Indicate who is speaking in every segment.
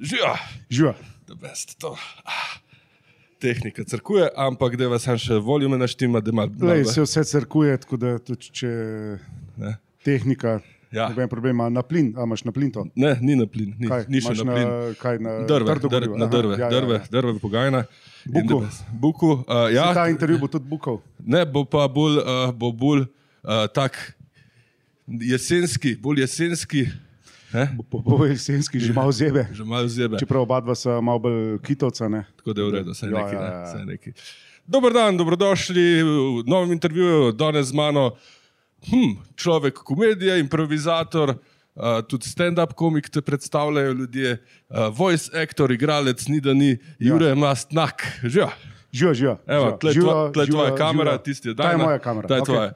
Speaker 1: Živa,
Speaker 2: Živa.
Speaker 1: the best. To. ah. Tehnika crkuje, ampak da vas še voljume naštima, da ima
Speaker 2: Lej, se vse crkuje, tako da tudi če
Speaker 1: Ne.
Speaker 2: tehnika,
Speaker 1: Ja.
Speaker 2: ja. noben problem, a na plin, a imaš na plin to.
Speaker 1: Ne, ni na plin, ni,
Speaker 2: Kaj,
Speaker 1: ni še
Speaker 2: imaš
Speaker 1: na plin.
Speaker 2: kaj na
Speaker 1: Drve,
Speaker 2: trdo
Speaker 1: drve,
Speaker 2: gorivo?
Speaker 1: na
Speaker 2: Aha,
Speaker 1: drve,
Speaker 2: ja, ja,
Speaker 1: drve,
Speaker 2: ja.
Speaker 1: drve pogajanja. in
Speaker 2: Buku.
Speaker 1: the best. Buku, uh,
Speaker 2: Saj Ta
Speaker 1: ja,
Speaker 2: intervju bo tudi bukal.
Speaker 1: ne bo pa bolj, uh, bo bolj uh, tak jesenski, bolj jesenski, ne?
Speaker 2: Po jesenski že malo zebe.
Speaker 1: že malo zebe.
Speaker 2: Čeprav oba dva sta malo bolj kitovca. Ne?
Speaker 1: Tako da je v redu, vse
Speaker 2: Ja,
Speaker 1: neki.
Speaker 2: ja,
Speaker 1: ne,
Speaker 2: ja.
Speaker 1: vsaj neki. Dober dan, dobrodošli v novem intervjuju, danes z mano hm, človek, komedija, improvizator. Uh, tudi stand-up komik te predstavljajo ljudje, uh, voice actor, igralec, ni da ni, Jure ja. Mastnak, že.
Speaker 2: Živa, živa.
Speaker 1: Evo, tle je tvoja, tle je tvoja kamera, tisti je
Speaker 2: Ta je
Speaker 1: Dana,
Speaker 2: moja kamera.
Speaker 1: Ta je
Speaker 2: okej.
Speaker 1: tvoja.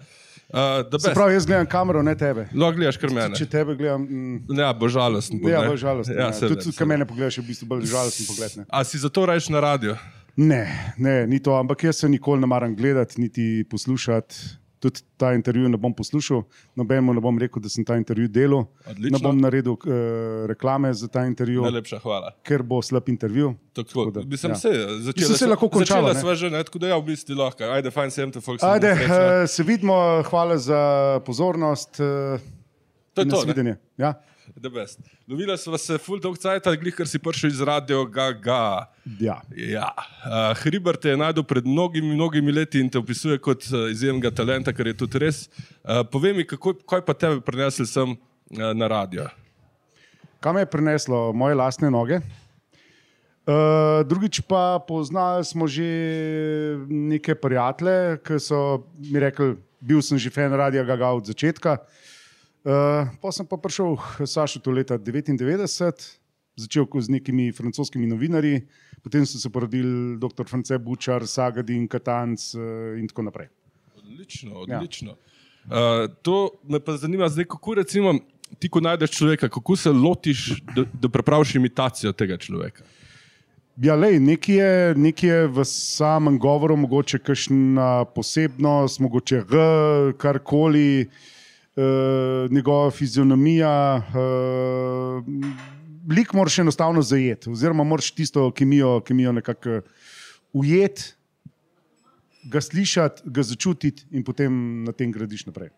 Speaker 1: Uh, the
Speaker 2: Se
Speaker 1: best.
Speaker 2: pravi, jaz gledam kamero, ne tebe.
Speaker 1: Lahko gledaš kar mene.
Speaker 2: Če tebe gledam, mm,
Speaker 1: Ja, bo žalosten. bo,
Speaker 2: ja,
Speaker 1: ne?
Speaker 2: bolj žalostno.
Speaker 1: Ja,
Speaker 2: Ja,
Speaker 1: seveda,
Speaker 2: tudi, tudi,
Speaker 1: seveda.
Speaker 2: kaj mene pogledaš, je v bistvu bolj žalosten pogled. Ne?
Speaker 1: A si zato rajš na radio?
Speaker 2: Ne, ne, ni to, ampak jaz se nikoli ne maram gledati, niti poslušati. Tudi ta intervju ne bom poslušal, nobenemu ne bom rekel, da sem ta intervju delal.
Speaker 1: Odlično.
Speaker 2: Ne bom naredil eh, reklame za ta intervju,
Speaker 1: Najlepša hvala.
Speaker 2: ker bo slab intervju.
Speaker 1: Tako,
Speaker 2: da,
Speaker 1: mislim,
Speaker 2: ja.
Speaker 1: se, začela,
Speaker 2: Mislim, se
Speaker 1: sva-
Speaker 2: lahko
Speaker 1: Začela
Speaker 2: končala, ne?
Speaker 1: sva že, ne, tako da ja, v bistvu lahko. Ajde, fajn sem te, Fox.
Speaker 2: Ajde, eh, se vidimo, hvala za pozornost. eh,
Speaker 1: To je
Speaker 2: in
Speaker 1: to, ne?
Speaker 2: nasvidenje. Ja?
Speaker 1: Lovila sva se full dog cajt, glih, ker si prišel iz radio Gaga.
Speaker 2: Ja.
Speaker 1: Ja. Uh, Hriber te je najdel pred mnogimi, mnogimi leti in te opisuje kot uh, izjemnega talenta, kar je tudi res. Uh, povej mi, kako, kaj pa tebe prinesel sem uh, na radio?
Speaker 2: Kaj me je prineslo, moje lastne noge. Uh, drugič pa poznali smo že neke prijatelje, ki so mi rekli, bil sem že fan radia Gaga od začetka. Uh, pa sem pa prišel k Sašu tu leta 99, začel ko z nekimi francoskimi novinarji, potem so se porodili dr. France Bučar, Sagadin, Katanc uh, in tako naprej.
Speaker 1: Odlično, odlično. Ja. Uh, to me pa zanima, zdaj, kako recimo, ti, ko najdeš človeka, kako se lotiš, da, da prepraviš imitacijo tega človeka.
Speaker 2: Ja, lej, nekaj, je, nekaj je v samem govoru, mogoče kakšna posebnost, mogoče G, karkoli, e, njegova fizionomija. E, lik moraš enostavno zajeti, oziroma moraš tisto kemijo, kemijo nekako eh, ujeti, ga slišati, ga začutiti in potem na tem gradiš naprej.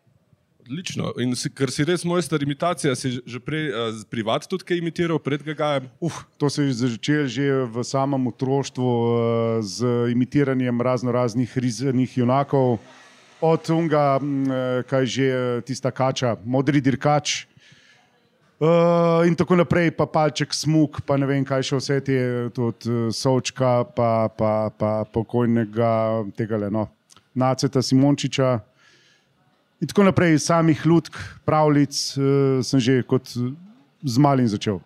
Speaker 1: Odlično. In si, ker si res mojster imitacije, si že- že prej uh, privat tudi kaj imitiral, pred Gagajem.
Speaker 2: Uf, to se je začelo že v samem otroštvu eh, z imitiranjem razno raznih rizanih junakov, od unga, mm, eh, kaj že eh, tista kača, modri dirkač. Uh, in tako naprej, pa palček smog, pa ne vem, kaj še vse te, tudi eh, Sovčka, pa, pa, pa pokojnega tega le, no, Naceta Simončiča. In tako naprej, samih ljudk, pravljic, uh, sem že kot eh, z malim začel.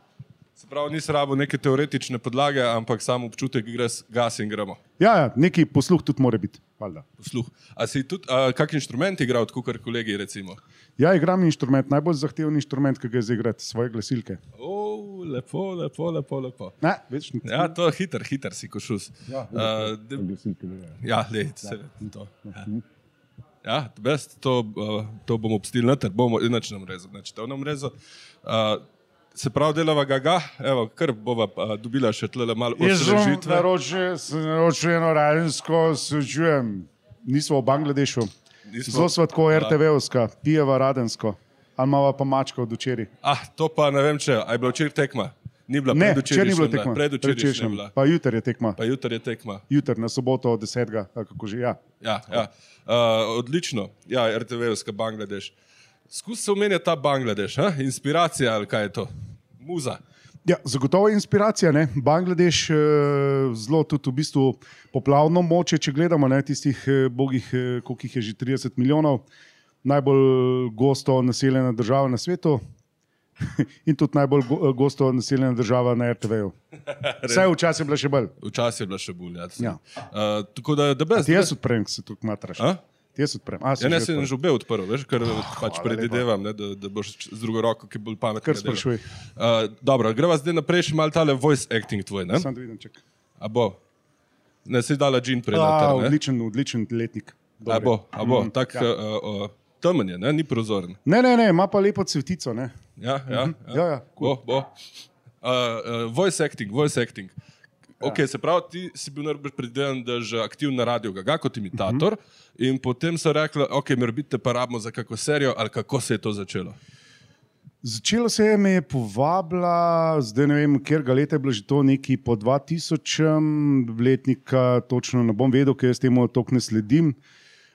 Speaker 1: Se pravi, nisi rabo neke teoretične podlage, ampak samo občutek, greš gas in gremo.
Speaker 2: Ja, ja neki posluh tudi mora biti. valjda.
Speaker 1: Posluh. A si tudi, a, kak inštrument igral, kot kar kolegi recimo?
Speaker 2: Ja, igram inštrument, najbolj zahteven inštrument, ki ga je zaigrati, svoje glasilke.
Speaker 1: O, lepo, lepo, lepo, lepo.
Speaker 2: Ne, več ne.
Speaker 1: Ja, to je hiter, hiter si košus.
Speaker 2: Ja,
Speaker 1: uh, de, Ja, lej, seveda. To. Ja. Ja, the best, to, uh, to bomo obstili noter, bomo inač nam rezo. Znači, to nam rezo. Uh, se pravi, delava ga, ga, evo, kar bova uh, dobila še tle malo
Speaker 2: Jaz sem
Speaker 1: osvežitve.
Speaker 2: naročil, sem naročil eno radensko, sočujem. Nismo v Bangladešu,
Speaker 1: Nismo.
Speaker 2: zelo smo tako RTV-ovska, pijeva radensko, ali imamo pa mačka od včeraj.
Speaker 1: Ah, to pa ne vem, če a je bila včeraj tekma. Ni bila
Speaker 2: Ne,
Speaker 1: predvčerajšnja
Speaker 2: če ni bilo
Speaker 1: je bila,
Speaker 2: tekma,
Speaker 1: Predvčerajšnja je
Speaker 2: predvčerajšnjem,
Speaker 1: bila.
Speaker 2: pa jutri je tekma,
Speaker 1: Pa jutri je tekma.
Speaker 2: jutri na soboto od 10. ali kako že. Ja.
Speaker 1: Ja, ja. Uh, odlično, ja, RTV-ovska Bangladeš. Skus se omenja ta Bangladeš, ha? inspiracija ali kaj je to? Muza.
Speaker 2: Ja, zagotovo je inspiracija. Ne? Bangladeš eh, zelo tudi v bistvu poplavno moče, če gledamo ne, tistih eh, bogih, eh, koliko jih je že 30 milijonov, najbolj eh, gosto naseljena država na svetu in tudi najbolj go, eh, gosto naseljena država na RTV-ju. Vsaj včasih je bila še bolj.
Speaker 1: Včasih je bila še bolj. Ja.
Speaker 2: Ja.
Speaker 1: Uh, tako da, da brez.
Speaker 2: Ti jaz odprem, se tu matraš.
Speaker 1: A?
Speaker 2: Ti jaz odprem. A, si
Speaker 1: Ja, ne,
Speaker 2: že
Speaker 1: sem
Speaker 2: odprl? Ah,
Speaker 1: že obe odprl, veš, ker oh, pač
Speaker 2: hvala
Speaker 1: predvidevam, ne, da, da boš č- z drugo roko, ki bo bolj pametna.
Speaker 2: Kar sprašuj.
Speaker 1: Uh, dobro, greva zdaj naprej, še malo tale voice acting tvoj, ne?
Speaker 2: Samo da vidim, čak.
Speaker 1: A bo? Ne, si dala džin prej.
Speaker 2: A, Mm,
Speaker 1: noter, ne?
Speaker 2: odličen, odličen letnik.
Speaker 1: A
Speaker 2: Dobre.
Speaker 1: bo, a bo, tak ja. uh, uh, temen je, ne, ni prozoren.
Speaker 2: Ne, ne, ne, ima pa lepo cvetico. Ne?
Speaker 1: Ja, ja,
Speaker 2: Ja, ja,
Speaker 1: bo, bo. Uh, uh, voice acting, voice acting. Okay, se pravi, ti si bil najbolj predelen, da je že aktiv na radiju, ga kot imitator. Uh -huh. In potem so rekli, ok, morbite te pa rabimo za kako serijo, ali kako se je to začelo.
Speaker 2: Začelo se je, me je povabila, zdaj ne vem, ker ga leta je bilo že to neki po 2000 letnika, točno ne bom vedel, ker jaz temu tok ne sledim.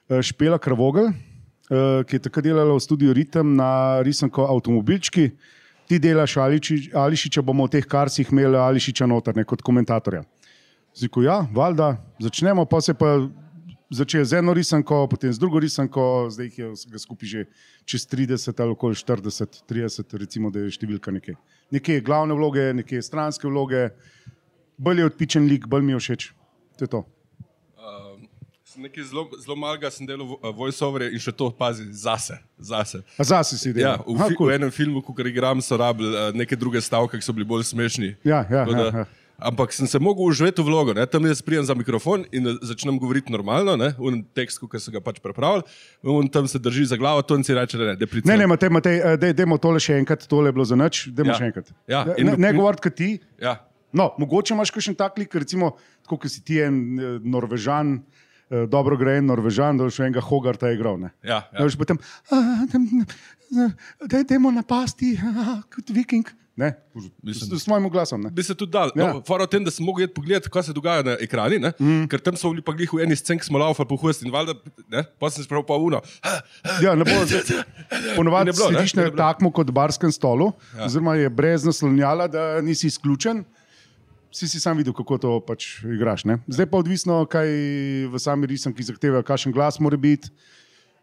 Speaker 2: Eh, Špela Kravogel, eh, ki je takrat delala v studiu Ritem na risanko Avtomobilčki. Ti delaš Aliči, Ališiča, bomo v teh karsih imeli Ališiča notrne kot komentatorja. Ziku, ja, valjda, začnemo, pa se pa začel z eno risanko, potem z drugo risanko, zdaj jih je vsega skupaj že čez 30 ali okoli 40, 30, recimo, da je številka nekaj. Nekje glavne vloge, nekje stranske vloge, bolj je odpičen lik, bolj mi je všeč. To je to.
Speaker 1: Sem Nekaj zelo, zelo malega sem delal vo- voiceoverje in še to pazi zase. zase.
Speaker 2: A zase si
Speaker 1: Ja,
Speaker 2: delal.
Speaker 1: v,
Speaker 2: Aha,
Speaker 1: fi,
Speaker 2: cool.
Speaker 1: v enem filmu, ko ga igram, so rabili eh, neke druge stavke, ki so bili bolj smešni.
Speaker 2: Ja, ja,
Speaker 1: Tako
Speaker 2: ja, ja.
Speaker 1: Ampak sem se mogel uživati v vlogo, ne? tam jaz prijem za mikrofon in eh, začnem govoriti normalno, ne? v enem tekstu, ki so ga pač prepravili, in tam se drži za glavo, to in si reče, ne, depricijo.
Speaker 2: Ne, ne, Matej, Matej, eh, daj- dajmo tole še enkrat, tole je bilo za noč, dajmo
Speaker 1: Ja.
Speaker 2: še enkrat.
Speaker 1: Ja,
Speaker 2: Ne-
Speaker 1: in-
Speaker 2: ne ne govoriti, kot ti.
Speaker 1: Ja.
Speaker 2: No, mogoče imaš kakšen tak lik, recimo, tako kot si ti en eh, norvežan, eh, dobro grejen norvežan, da še enega Hogarta je igral. Ne?
Speaker 1: Ja, ja.
Speaker 2: Da boš potem, "A, tam, da idemo napasti, a, kot viking. Ne,
Speaker 1: Mislim-
Speaker 2: s, s svojim glasom. Ne?
Speaker 1: Bi se tudi dal.
Speaker 2: Ja. Mhm.
Speaker 1: Ja. No, Fara o tem, da sem mogel iti pogledat, kaj se dogaja na ekrani, mm. ker tam so bili pa glih v eni sceni, ki smo laufali po husti in valjda, ne, pa sem spravil pa uno.
Speaker 2: Ja, ne bo zdaj. Ponovadi
Speaker 1: Ne bilo, ne?
Speaker 2: sediš
Speaker 1: Ne
Speaker 2: na
Speaker 1: bilo.
Speaker 2: takmu kot barskem stolu, ja. oziroma je brez naslonjala, da nisi izključen. Si si sam videl, kako to pač igraš.
Speaker 1: Ja.
Speaker 2: Ne? Zdaj pa odvisno, kaj v sami risanki zahteva, kakšen glas mora biti,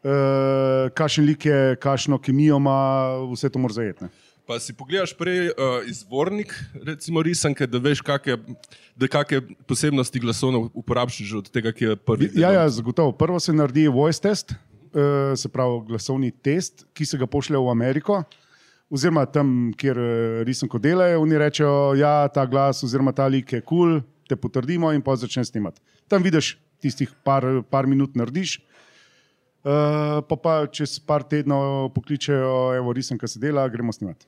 Speaker 2: uh, kakšen lik je, kakšno kemijo ima, vse to mora zajetne.
Speaker 1: Pa si pogledaš prej uh, izvornik, recimo risanke, da veš, kakšne kak posebnosti glasovno uporabiš že od tega, ki je prvi.
Speaker 2: Ja, ja, zagotovo. Prvo se naredi voice test, eh, se pravi glasovni test, ki se ga pošlje v Ameriko. Oziroma tam, kjer eh, risanko delajo, oni rečejo, da ja, ta glas oziroma ta lik je kul, cool, te potrdimo in pa začneš snimati. Tam vidiš tistih par, par minut narediš. Uh, pa, pa čez par tednov pokličejo, evo, risanka se dela, gremo snimati.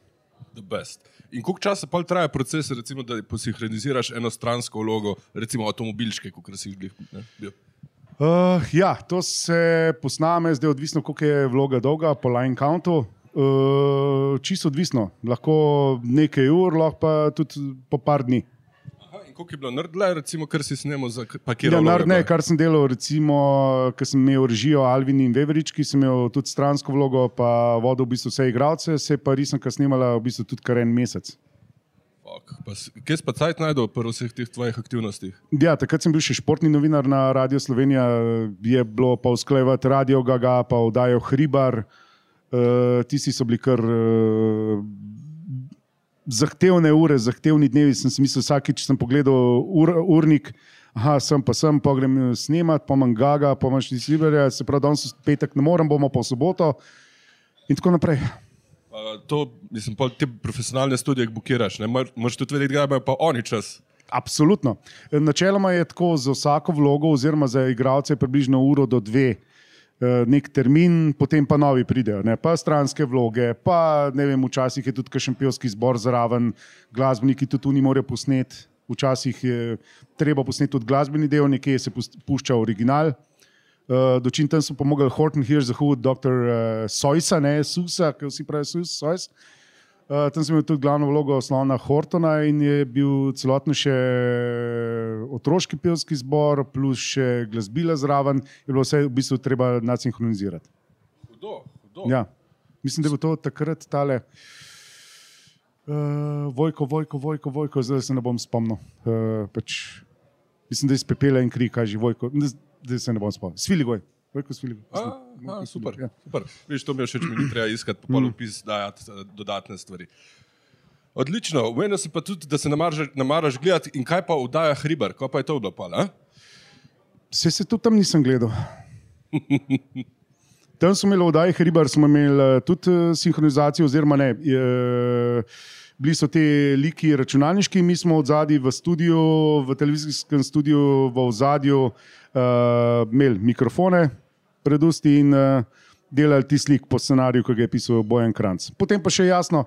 Speaker 1: The best. In koliko časa pa traja proces, recimo, da posinhroniziraš eno stransko vlogo, recimo avtomobilske, kot si jih glih. ne, bil?
Speaker 2: Uh, ja, to se posname, zdaj odvisno, koliko je vloga dolga po line countu. Uh, čisto odvisno, lahko nekaj ur, lahko pa tudi po par dni.
Speaker 1: Aha, in koliko je bilo nerdle, recimo, kar si snemo za
Speaker 2: Ja,
Speaker 1: pakiranje?
Speaker 2: ne, kar sem delal, recimo, ker sem imel režijo Alvin in Veverič, ki sem imel tudi stransko vlogo, pa vodil v bistvu vse igralce, se je pa risem, kar snimala v bistvu tudi kar en mesec.
Speaker 1: Fuck, pa, s- kje si pa cajt najdel pri vseh teh tvojih aktivnostih?
Speaker 2: Ja, takrat sem bil še športni novinar na Radio Slovenija, je bilo pa usklajevati radio Gaga, pa oddajo Hribar. Uh, tisti so bili kar uh, zahtevne ure, zahtevni dnevi. Sem si mislil, vsakič sem pogledal ur, urnik, aha, sem pa sem, pa grem snemat, pa imam Gaga, pa imam še Siberja, se pravi, danes v petek ne morem, bomo pa v soboto in tako naprej.
Speaker 1: Pa To, mislim, pol te profesionalne studije bukiraš, ne Mor- moraš tudi vedeti, kdaj imajo pa oni čas.
Speaker 2: Absolutno. Načeloma je tako za vsako vlogo, oziroma za igralce, približno uro do dve. eh, Nek termin, potem pa novi pridejo, ne? pa stranske vloge, pa ne vem, včasih je tudi kakšen pevski zbor zraven, glasbeniki tudi tu ni morejo posneti, včasih je treba posneti tudi glasbeni del, nekje se pust- pušča original. Eh, Dočim tam so pomagali Horton Hirsch, zahod dr. eh, Sojsa, ne Susa, ki vsi pravijo Sus, Sojs. Uh, tam sem imel tudi glavno vlogo Slona Hortona in je bil celotno še eh, otroški pevski zbor, plus še glasbila zraven, je bilo vse v bistvu treba nadsinhronizirati.
Speaker 1: Hudo, hudo.
Speaker 2: Ja. Mislim, da je bilo to takrat tale. Uh, Vojko, Vojko, Vojko, Vojko, zdaj se ne bom spomnil. Uh, pač, mislim, da je spepela en krik, kaj že Vojko, Ne, zdaj se ne bom spomnil. Sviligoj, Vojko, Sviligoj.
Speaker 1: A,
Speaker 2: Mislim, Mm.
Speaker 1: a,
Speaker 2: Vojko
Speaker 1: super,
Speaker 2: Sviligoj, ja.
Speaker 1: super. Veš, to mi je všeč, mi ni treba iskati, pa pol opis dajati eh, dodatne stvari. Odlično, umenil si pa tudi, da se namaraš, namaraš gledati in kaj pa vdaja hribar, kaj pa je to bilo pa, ne?
Speaker 2: Vse se tudi tam nisem gledal. Tam smo imeli vdaje Hribar, smo imeli eh, tudi eh, sinhronizacijo, oziroma ne. Je, eh, bili so ti liki računalniški, mi smo od zadaj v studiu, v televizijskem studiu, v ozadju uh, imeli mikrofone, predusti in eh, uh, delali ti slik po scenariju, ki ga je pisal Bojan Kranc. Potem pa še jasno,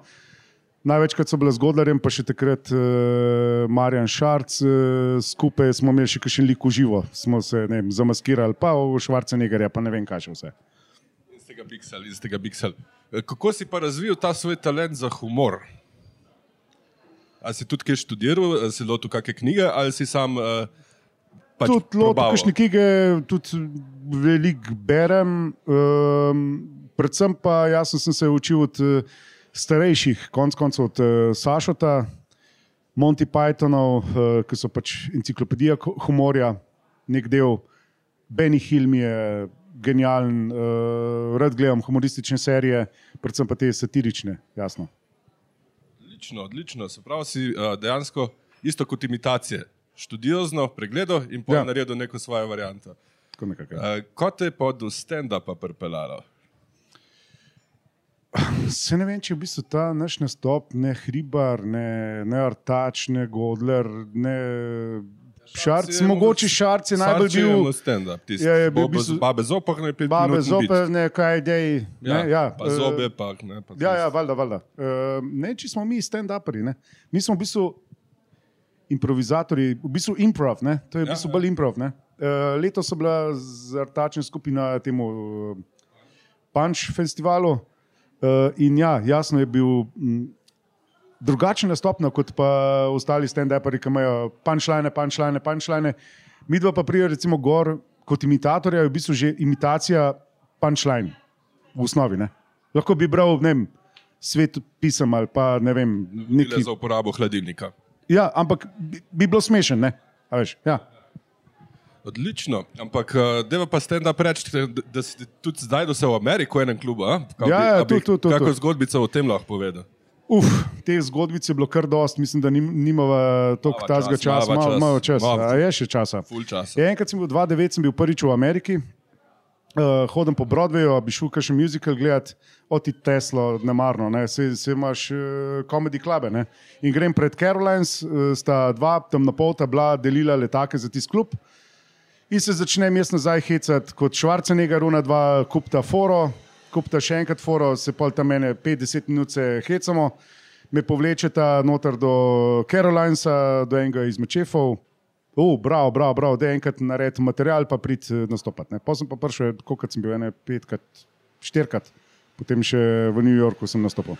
Speaker 2: Največkrat so bile z Godlerjem, pa še takrat uh, Marjan Šarc, uh, skupaj smo imeli še kakšen lik v živo, smo se ne vem, zamaskirali, pa v Švarcenegarja, pa ne vem, kaj še vse.
Speaker 1: Iz tega biksel, iz tega biksel. Kako si pa razvil ta svoj talent za humor? A si tudi kaj študiral, a si lotil kakšne knjige ali si sam uh, pač
Speaker 2: tudi loto,
Speaker 1: probaval?
Speaker 2: kakšne knjige, tudi veliko berem. Um, predvsem pa jaz sem se učil od eh, starejših, konc koncev od eh, Sašota, Monty Pythonov, eh, ki so pač enciklopedija ko- humorja, nek del. Benny Hill mi je genijalen, eh, rad gledam humoristične serije, predvsem pa te satirične, jasno.
Speaker 1: Odlično, odlično. Se pravi, si uh, dejansko isto kot imitacije. Študiozno pregledal in potem ja.
Speaker 2: Ja.
Speaker 1: naredil neko svojo varianto.
Speaker 2: Tako nekako, ja.
Speaker 1: Uh, kot te je pa do stand-upa pripeljalo?
Speaker 2: Se ne vem, če je v bistvu ta naš nastop, ne hribar, ne, ne artač, ne godler, ne šarc.
Speaker 1: je
Speaker 2: Mogoče
Speaker 1: mogoče-
Speaker 2: šarc je najbolj
Speaker 1: Sarčev
Speaker 2: bil.
Speaker 1: stand-up, tisti.
Speaker 2: Ja, je bil v
Speaker 1: Bobo z-
Speaker 2: bistvu-
Speaker 1: Babe zopah ne pet
Speaker 2: Babe
Speaker 1: minut in bič.
Speaker 2: zoper, ne kaj idej.
Speaker 1: Ja,
Speaker 2: ne, ja,
Speaker 1: pa
Speaker 2: eh,
Speaker 1: zobe, pa ne. Pa
Speaker 2: Ja, ja, valjda, valjda. Uh, ne, če smo mi stand-uperi, ne. mi smo v bistvu improvizatori, v bistvu improv, ne. to je v
Speaker 1: Ja, ja.
Speaker 2: bistvu bolj improv. Uh, leto so bila zartačna skupina temu uh, Punch festivalu uh, in ja, jasno je bil. Mm, Drugačen nastop no, kot pa ostali stand-uperi, ki imajo punčline, punčline, punčline. Mi dva pa prijemo, recimo, gor kot imitatorja, je v bistvu že imitacija punčline v osnovi. Ne? Lahko bi bral, ne vem, svet pisem ali pa ne vem,
Speaker 1: Nekaj
Speaker 2: nekaj.
Speaker 1: za uporabo hladilnika.
Speaker 2: Ja, ampak bi, bi bilo smešen, ne? A veš, ja.
Speaker 1: Odlično, ampak eh, deva pa stand-up reči, da- da si tudi zdaj, da se v Ameriko v enem klubu. a? Kaj
Speaker 2: Ja,
Speaker 1: bi-
Speaker 2: ja,
Speaker 1: a bi
Speaker 2: tudi, tudi, tudi.
Speaker 1: Kako zgodbico o tem lahko povedal?
Speaker 2: Uf, te zgodbice je bilo kar dost, mislim, da nim- nimava toliko
Speaker 1: Mava
Speaker 2: tazga
Speaker 1: čas, mava
Speaker 2: časa, malo,
Speaker 1: čas.
Speaker 2: malo časa.
Speaker 1: Mava-
Speaker 2: A je še časa.
Speaker 1: Ful časa.
Speaker 2: Ja, enkrat sem bil 2-9, sem bil prvič v Ameriki, uh, hodim po Broadwayu, a bi šel kakšen muzikal gledati, oti Teslo, nemarno, ne? se, se imaš komedi uh, klube. Ne? In grem pred Carolines, uh, sta dva temnopolta bila delila letake za tisti klub. In se začnem jaz nazaj hecati kot Švarcenega, runa dva, kupta foro, kupta še enkrat foro, se pol tam mene 50 minut se hecamo, me povlečeta noter do Carolinesa, do enega izmed šefov. Uf, bravo, bravo, bravo, da enkrat naredim material, pa prid eh, nastopati. ne. Pol sem pa prišel, kot sem bil, ene petkrat, štirikrat, potem še v New Yorku sem nastopil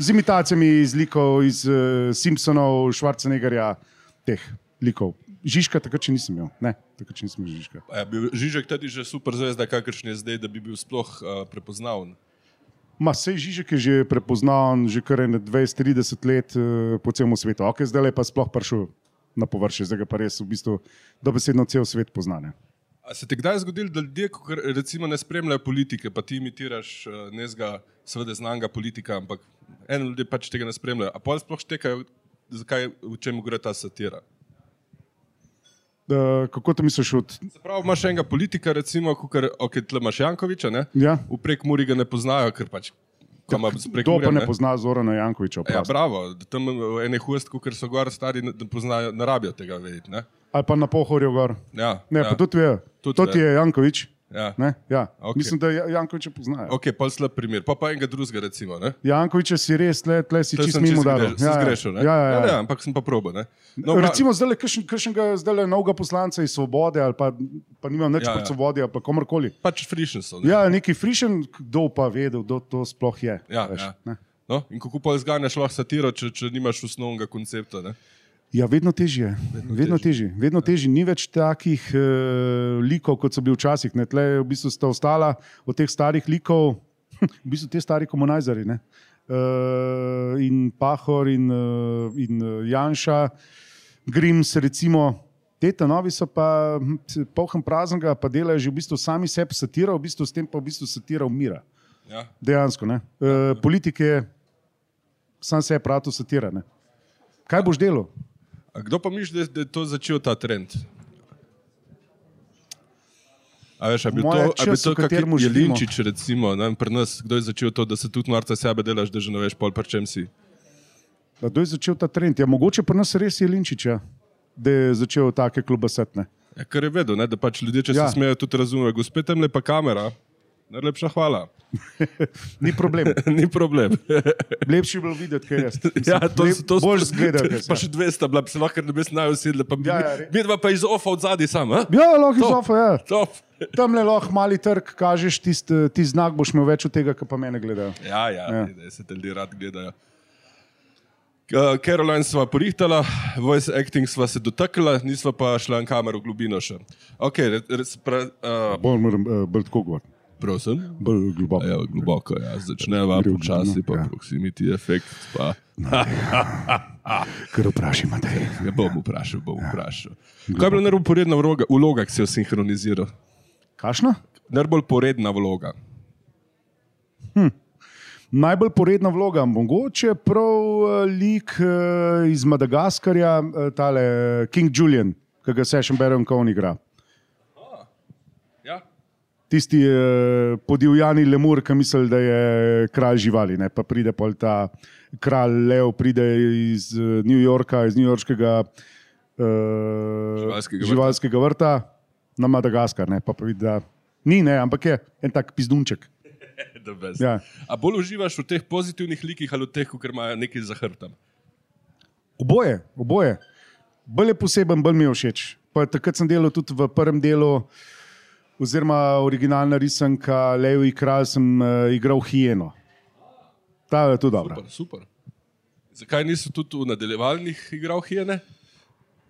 Speaker 2: z imitacijami iz likov, iz uh, Simpsonov, Schwarzeneggerja, teh likov. Žižka takrat še nisem imel, ne, takrat še nisem imel Žižka.
Speaker 1: A Je bil Žižek tudi že super zvezda, kakršen je zdaj, da bi bil sploh uh, prepoznaven.
Speaker 2: Ma sej Žižek je že prepoznaven, že kar ene 20-30 let uh, po celem svetu. Ok, zdaj je pa sploh prišel na površje, zdaj ga pa res v bistvu dobesedno cel svet poznane.
Speaker 1: A se ti kdaj zgodilo, da ljudje ko kar, recimo, ne spremljajo politike, pa ti imitiraš nezga, seveda znanga politika, ampak eno ljudje pač tega ne spremljajo. A pa sploh štekajo, zakaj, v čem gre ta satira.
Speaker 2: Uh, kako to misliš od
Speaker 1: Se pravi, imaš enega politika, recimo, kot okay, tle imaš Jankoviča, ne?
Speaker 2: Ja.
Speaker 1: v prek Muri ga ne poznajo, ker pač kam imaš prek
Speaker 2: kdo pa
Speaker 1: Murja,
Speaker 2: ne pozna Zorana Jankoviča?
Speaker 1: Ja,
Speaker 2: oprosti.
Speaker 1: bravo, da tam v ene huest, ker so gor stari, ne, ne poznajo, ne rabijo tega vedeti. Ne,
Speaker 2: Ali pa na pohorju gor.
Speaker 1: ja,
Speaker 2: Ne,
Speaker 1: ja,
Speaker 2: ja. pa tudi ve.
Speaker 1: Tudi
Speaker 2: To ti
Speaker 1: ve.
Speaker 2: je Jankovič.
Speaker 1: Ja.
Speaker 2: Ne? Ja.
Speaker 1: Okej.
Speaker 2: Okay. Mislim, da Ja- Jankoviča poznajo.
Speaker 1: Ok, pa slab primer, pa pa enega drugega, recimo. Ne?
Speaker 2: Jankovič, si res, le, le si
Speaker 1: To
Speaker 2: čist
Speaker 1: sem čisto
Speaker 2: mimo dal.
Speaker 1: zgrešil, sem zgrešil, ne?
Speaker 2: ja, ja, ja.
Speaker 1: Ne, ampak sem pa probo.
Speaker 2: No, Recimo, zdaj le kakšnega zdajle novega poslanca iz Svobode, ali pa, pa nimam nič
Speaker 1: Ja,
Speaker 2: ja,
Speaker 1: ja.
Speaker 2: proti Svobodi, ali pa komorkoli.
Speaker 1: pač frišni so. ne.
Speaker 2: Ja, neki frišen, kdo pa ve, kdo to sploh je.
Speaker 1: Ja,
Speaker 2: veš,
Speaker 1: ja.
Speaker 2: ne.
Speaker 1: No, in kako pa izganjaš lahko satiro, če, če nimaš osnovnega koncepta? Ne?
Speaker 2: ja vedno težje, vedno težje. Vedno težje, ni več takih uh, likov, kot so bili včasih. Ne, tle v bistvu sta ostala od teh starih likov, hm, v bistvu te stari komunizari. Uh, in Pahor in, uh, in eh, Janša. Grims, recimo, te ta novi so pa hm, t- polhem praznega, pa delajo že v bistvu sami sebe satira, v bistvu s tem pa v bistvu satira umira.
Speaker 1: Ja.
Speaker 2: Dejansko, ne. E, politik je sam sebe prato satira. Ne? Kaj boš delal?
Speaker 1: A Kdo pa misli, da, da je to začel ta trend? A veš, a bi
Speaker 2: Moje
Speaker 1: to, a bi
Speaker 2: čas,
Speaker 1: to
Speaker 2: v katerem živimo.
Speaker 1: Jelinčič, recimo, ne, vem, pri nas, kdo je začel to, da se tudi marca sebe delaš, da že ne veš, pol pa čem si.
Speaker 2: Da kdo je začel ta trend? Ja, mogoče pa nas res je Linčič, ja, da je začel take klubasetne.
Speaker 1: Ja, kar je vedel, ne, da pač ljudje, če ja.
Speaker 2: Ja.
Speaker 1: se smejejo, tudi razumejo. Gospe tam lepa kamera, Najlepša hvala.
Speaker 2: Ni problem.
Speaker 1: Ni problem.
Speaker 2: Lepši je bilo videti, kaj jaz. Mislim,
Speaker 1: Ja, to,
Speaker 2: lep-
Speaker 1: to,
Speaker 2: bolj
Speaker 1: to,
Speaker 2: zgledal. kaj
Speaker 1: pa
Speaker 2: sem.
Speaker 1: še dve sta bila, se lahko ne bi se naj usedla. Pa
Speaker 2: Ja,
Speaker 1: ja,
Speaker 2: ja,
Speaker 1: ja,
Speaker 2: res.
Speaker 1: Midva pa iz ofa od zadaj sam. a?
Speaker 2: Ja, lahko
Speaker 1: To.
Speaker 2: zofa, ja.
Speaker 1: Top.
Speaker 2: Tam le lahko mali trg, kažeš tisti tist eh, znak, boš imel več od tega, kar pa mene gledajo.
Speaker 1: Ja, ja,
Speaker 2: Ja.
Speaker 1: ja. Ide, se te ljudje rad gledajo. K- Caroline sva porihtala, voice acting sva se dotaknila, nisva pa šla na kamero v globino še. Ok, res, pra, uh,
Speaker 2: Bolj moram, eh, bolj tako gor,
Speaker 1: prosim.
Speaker 2: bolj globoko.
Speaker 1: Ja, globoko, ja. Začneva
Speaker 2: Gre v
Speaker 1: počasi,
Speaker 2: globino,
Speaker 1: pa
Speaker 2: ja.
Speaker 1: proximity efekt. Pa.
Speaker 2: Ker vprašaj, Matej.
Speaker 1: Ja, bom vprašal, bom vprašal. Kaj je bila najbolj poredna vloga, vloga, ki si jo sinhroniziral?
Speaker 2: Kašna?
Speaker 1: Najbolj poredna vloga.
Speaker 2: Najbolj poredna vloga, mogoče prav eh, lik eh, iz Madagaskarja, eh, tale eh, King Julian, ki ga Session Baron Cohen igra.
Speaker 1: Ja.
Speaker 2: Tisti eh, podivjani lemur, ki misli, da je kralj živali, ne? pa pride pol ta kralj Leo, pride iz eh, New Yorka, iz newyorškega eh,
Speaker 1: Živalskega vrta.
Speaker 2: živalskega vrta na Madagaskar. Ne? Pa, pa vidi, da ni, ne, ampak je en tak pizdunček. Ja.
Speaker 1: Ja. A bolj uživaš v teh pozitivnih likih ali v teh, ki imajo nekaj za hrbtom?
Speaker 2: Oboje, oboje. Bolj je poseben, bolj mi je všeč. Pa takrat sem delal tudi v prvem delu, oziroma originalna risanka Levi Kralj, sem uh, igral Hieno. Ta je tudi dobra.
Speaker 1: Super, super. Zakaj niso tudi v nadaljevalnih igrah hijene?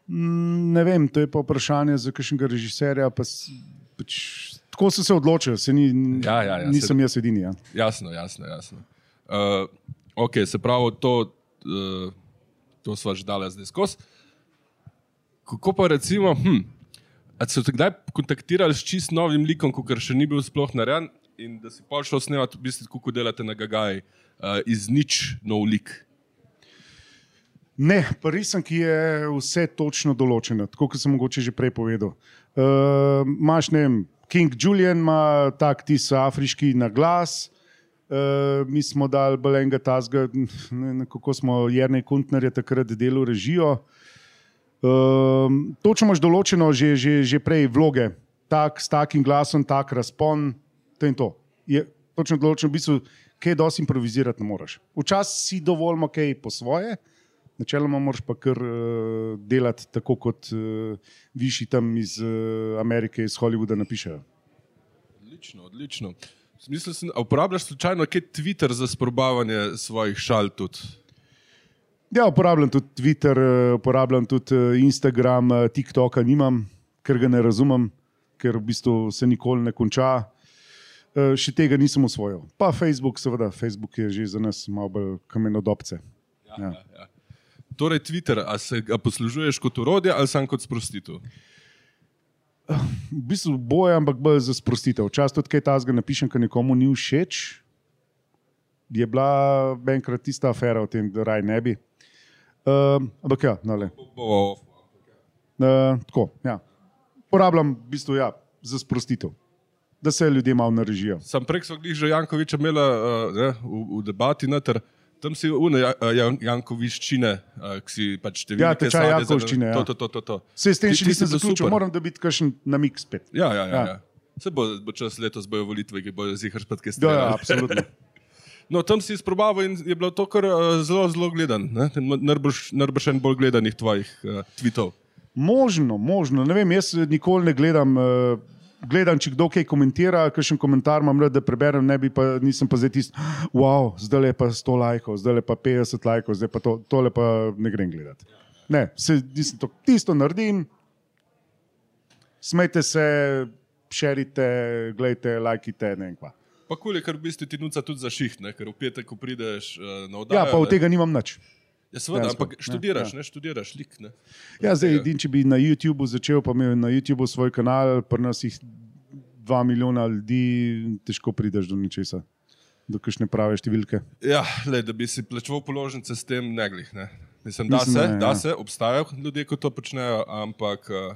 Speaker 2: Mm, Ne vem, to je pa vprašanje za kakšnega režiserja. Pa, s- pač, tako sem se odločil, se ni,
Speaker 1: Ja, ja, ja,
Speaker 2: nisem jaz edini. Ja.
Speaker 1: Jasno, jasno. jasno. Uh, ok, se pravi, to, uh, to sva že dala zdaj skozi. Kako pa recimo, hm, a so te kdaj kontaktirali s čist novim likom, ki še ni bil sploh narejen in da si pa šel snemati, v bistvu, kako delate na Gagaji, uh, iz nič nov lik.
Speaker 2: Ne, pa risam, ki je vse točno določeno, tako kot sem mogoče že prej povedal. Uh, Máš, ne vem, King Julian ima tak tis afriški na glas. Uh, mi smo dali belenga tazga, kako smo Jrnej Kuntnerja takrat delali režijo. Um, točno imaš določeno že, že, že prej vloge, tak, s takim glasom, tak razpon, to in to. Je točno določeno, v bistvu, kaj dosti improvizirati ne moreš. Včasih si dovolj kaj po svoje, načeloma moraš pa kar uh, delati tako, kot uh, višji tam iz uh, Amerike, iz Hollywooda napišejo.
Speaker 1: Odlično, odlično. Mislim, sem, a uporabljaš slučajno kaj Twitter za sprobavanje svojih šal tudi?
Speaker 2: Ja, uporabljam tudi Twitter, eh, uporabljam tudi eh, Instagram, eh, TikToka nimam, ker ga ne razumem, ker v bistvu se nikoli ne konča. Eh, Še tega nisem osvojil. Pa Facebook, seveda, Facebook je že za nas malo bolj kamenodobce. Ja.
Speaker 1: Torej, Twitter, a se ga poslužuješ kot urodje ali samo kot sprostitev?
Speaker 2: V bistvu boje, ampak bolj za sprostitev. Včasih tudi kaj tazga napišem, kar nekomu ni všeč. Je bila enkrat tista afera o tem, da raj ne bi. Uh, ampak ja, no le.
Speaker 1: Bo, bo,
Speaker 2: Uh, tako, ja. Porabljam v bistvu ja, za sprostitev, da se ljudje malo narežijo.
Speaker 1: Sam prek smo jih že Jankoviča imela uh, ne, v, v debati, noter. tam si une ja, Jan, Jankoviščine, uh, ki si pač te
Speaker 2: Ja, tečaj Jankovščine, ja.
Speaker 1: To, to, to, to, to.
Speaker 2: Se s
Speaker 1: Ti-
Speaker 2: tem še
Speaker 1: ti
Speaker 2: nisem
Speaker 1: si bil
Speaker 2: zaključil,
Speaker 1: super.
Speaker 2: moram dobiti kakšen namik spet.
Speaker 1: Ja, ja, ja.
Speaker 2: Ja.
Speaker 1: ja. Se bo, bo čas letos bojo volitve, ki bojo zihar spet kaj
Speaker 2: Ja, ja,
Speaker 1: stvari.
Speaker 2: absolutno.
Speaker 1: No, tam si izprobaval in je bilo to kar uh, zelo, zelo gledan. Najbrž en bolj gledanih tvojih uh, tvitev.
Speaker 2: Možno, možno. Ne vem, jaz nikoli ne gledam. Uh, Gledam, če kdo kaj komentira, kakšen komentar imam, rad, da preberem, ne bi pa, nisem pa zdaj tisti, "Ah, wow, zdaj je pa 100 lajkov, zdaj je pa 50 lajkov, zdaj pa to, tole pa ne grem gledati. Ne, se, nisem to, tisto naredim, smejte se, šerite, gledajte, lajkite, ne vem kva.
Speaker 1: Pa kul je, ker v bistvu ti nuca tudi za šiht, ne? ker v petek, ko prideš uh, na oddajo.
Speaker 2: Ja, pa
Speaker 1: ne.
Speaker 2: od tega nimam nič.
Speaker 1: Ja, seveda,
Speaker 2: dejansko,
Speaker 1: ampak
Speaker 2: ne,
Speaker 1: študiraš,
Speaker 2: ja.
Speaker 1: ne, študiraš, lik. Ne.
Speaker 2: Ja, zdaj,
Speaker 1: Tega.
Speaker 2: edin, če bi na YouTubu začel, pa imel na YouTubu svoj kanal, pri nas jih dva milijona ljudi, težko prideš do ničesa, do kakšne prave številke.
Speaker 1: Ja, le, da bi si plačal položnice s tem neglih. Ne? Mislim, da, Mislim,
Speaker 2: Mislim,
Speaker 1: se,
Speaker 2: da ne,
Speaker 1: ne, da ja.
Speaker 2: ja.
Speaker 1: se, obstajajo ljudje, ki to počnejo, ampak eh,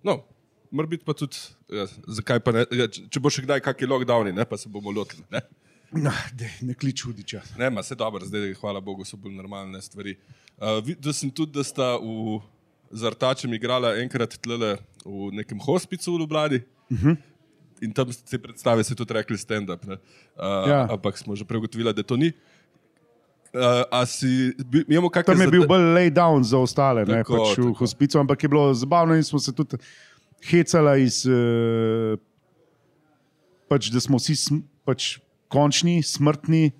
Speaker 1: no, mora biti pa tudi, ja, zakaj pa ne, ja, če- če bo še kdaj kakšni lockdowni, ne, pa se bomo lotili. Ne,
Speaker 2: Na, dej, ne klič hudiča.
Speaker 1: ne ma se dobro, zdaj hvala Bogu so bolj normalne stvari. Uh, videl sem tudi, da sta v
Speaker 2: Mhm.
Speaker 1: Zartačem igrala enkrat tlele v nekem hospicu v Ljubljani. Uh -huh. in tam se predstave se tudi rekli stand-up. ne. Uh, ja.
Speaker 2: Ja.
Speaker 1: Ampak smo že pregotovili, da to ni. Uh, a si, bi- imamo kakšne
Speaker 2: Tam je bil
Speaker 1: zada-
Speaker 2: bolj lay down za ostale, ne,
Speaker 1: Tako,
Speaker 2: pač v
Speaker 1: tako.
Speaker 2: hospicu, ampak je bilo zabavno in smo se tudi hecali, iz, eh, pač, da smo vsi sm, pač, končni, smrtni,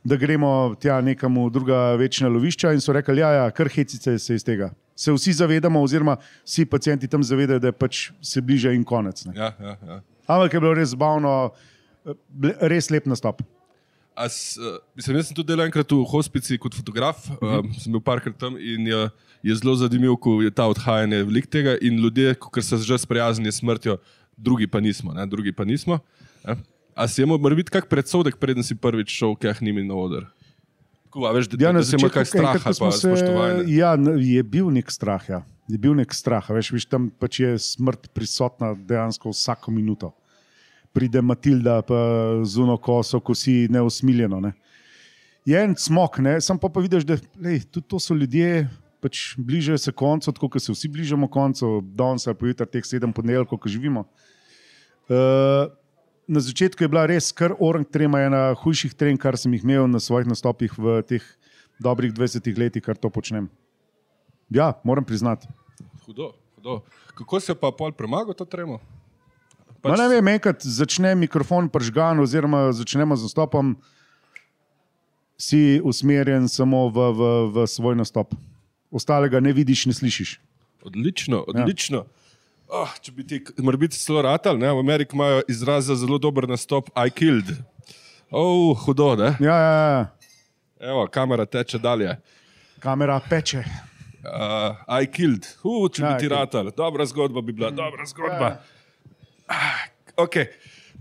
Speaker 2: da gremo tja nekam v druga večna lovišča. In so rekli, ja, ja kar hecice se iz tega. Se vsi zavedamo, oziroma vsi pacijenti tam zavedajo, da je pač se bliža in konec. Ne.
Speaker 1: Ja, ja, ja.
Speaker 2: Ampak je bilo res zabavno, eh, ble- res lep nastop.
Speaker 1: A s, eh, mislim, jaz sem tudi delal enkrat v hospici kot fotograf, uh -huh.
Speaker 2: Mhm.
Speaker 1: um, sem bil parkrat tam in je, je zelo zanimiv, ko je ta odhajanje velik tega in ljudje, ki so se že sprijaznili s smrtjo, drugi pa nismo. Ne, drugi pa nismo ne. A si imel morbit kak predsodek, preden si prvič šel, kaj jih nimi na oder? Tako, a veš, da,
Speaker 2: Ja,
Speaker 1: ja,
Speaker 2: na
Speaker 1: da si imel
Speaker 2: začetku,
Speaker 1: kak strah,
Speaker 2: enkrat, ko
Speaker 1: ali
Speaker 2: smo
Speaker 1: pa
Speaker 2: se-
Speaker 1: spoštovanje.
Speaker 2: Ja, n- je bil nek strah. Ja. Je bil nek strah. a Veš, veš, tam pač je smrt prisotna dejansko vsako minuto. Pride Matilda pa z uno koso, ko si neusmiljeno. Ne. Je en smog, ne, sam pa, pa vidiš, da lej, tudi to so ljudje. Pač bližajo se koncu, tako kot se vsi bližamo koncu, danes ali pojutraj teh sedem ponedeljkov, ko živimo. Uh, na začetku je bila res kar orang trema, ena hujših trem, kar sem jih imel na svojih nastopih v teh dobrih 20 letih, kar to počnem. Ja, moram priznati.
Speaker 1: Hudo, hudo. Kako se pa pol premagal to tremo?
Speaker 2: Pač... Ne vem, enkrat začne mikrofon pržgan, oziroma začnemo z nastopom, si usmerjen samo v, v, v svoj nastop. Ostalega ne vidiš, ne slišiš.
Speaker 1: Odlično, odlično. Ja. Oh, če bi ti, morda celo ratal, ne? v Ameriki imajo izraz za zelo dober nastop, I killed. Oh, hudo, ne?
Speaker 2: Ja, ja, ja.
Speaker 1: Evo, kamera teče dalje.
Speaker 2: kamera peče.
Speaker 1: Uh, I killed, uh, če
Speaker 2: Ja,
Speaker 1: bi
Speaker 2: I
Speaker 1: ti
Speaker 2: killed.
Speaker 1: ratal, dobra zgodba bi bila, dobra zgodba.
Speaker 2: Ja.
Speaker 1: Ah, okay.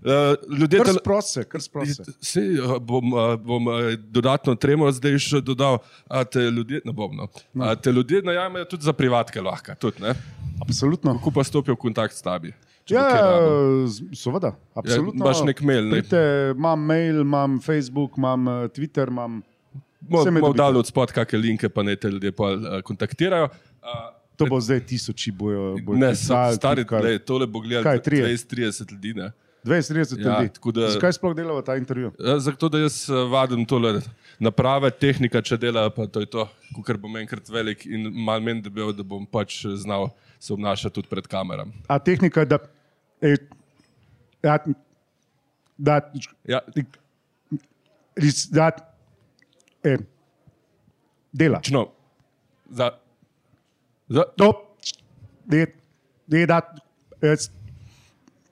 Speaker 1: uh, ljudje,
Speaker 2: Kar
Speaker 1: tele-
Speaker 2: sprose, kar sprose.
Speaker 1: Sej, a, bom, a, bom a, dodatno tremo zdaj še dodal, a te ljudje, ne bom, no. a te ljudje najamejo tudi za privatke lahko, tudi, ne?
Speaker 2: Absolutno.
Speaker 1: Ko pa stopijo v kontakt s tabi. če bo
Speaker 2: Ja,
Speaker 1: kaj rabil.
Speaker 2: z- seveda, absolutno.
Speaker 1: imaš nek mail, ne?
Speaker 2: Prite, imam mail, imam Facebook, imam eh, Twitter, imam. Vse me
Speaker 1: Bomo
Speaker 2: dobite.
Speaker 1: dali od spod kakšne linke, pa ne te ljudje pa uh, kontaktirajo. Uh,
Speaker 2: To bo zdaj tisoči, bojo. bojo
Speaker 1: ne,
Speaker 2: pisali,
Speaker 1: sa- stari,
Speaker 2: tipkali.
Speaker 1: le, tole bo gledalo
Speaker 2: Kaj, trije?
Speaker 1: 20-30 ljudi. Ne?
Speaker 2: 20-30
Speaker 1: Ja, tako
Speaker 2: ljudi.
Speaker 1: da-
Speaker 2: Zakaj sploh delava ta intervju?
Speaker 1: Ja, Zato, da jaz eh, vadim tole naprave, tehnika, če dela, pa to je to, ker bom enkrat velik in mal menj debel, da bom pač znal se obnašati tudi pred kamerami.
Speaker 2: A tehnika, da. E, da, da,
Speaker 1: Ja,
Speaker 2: res- da e, dela.
Speaker 1: čno, za, za,
Speaker 2: To, de, de, da, e, es,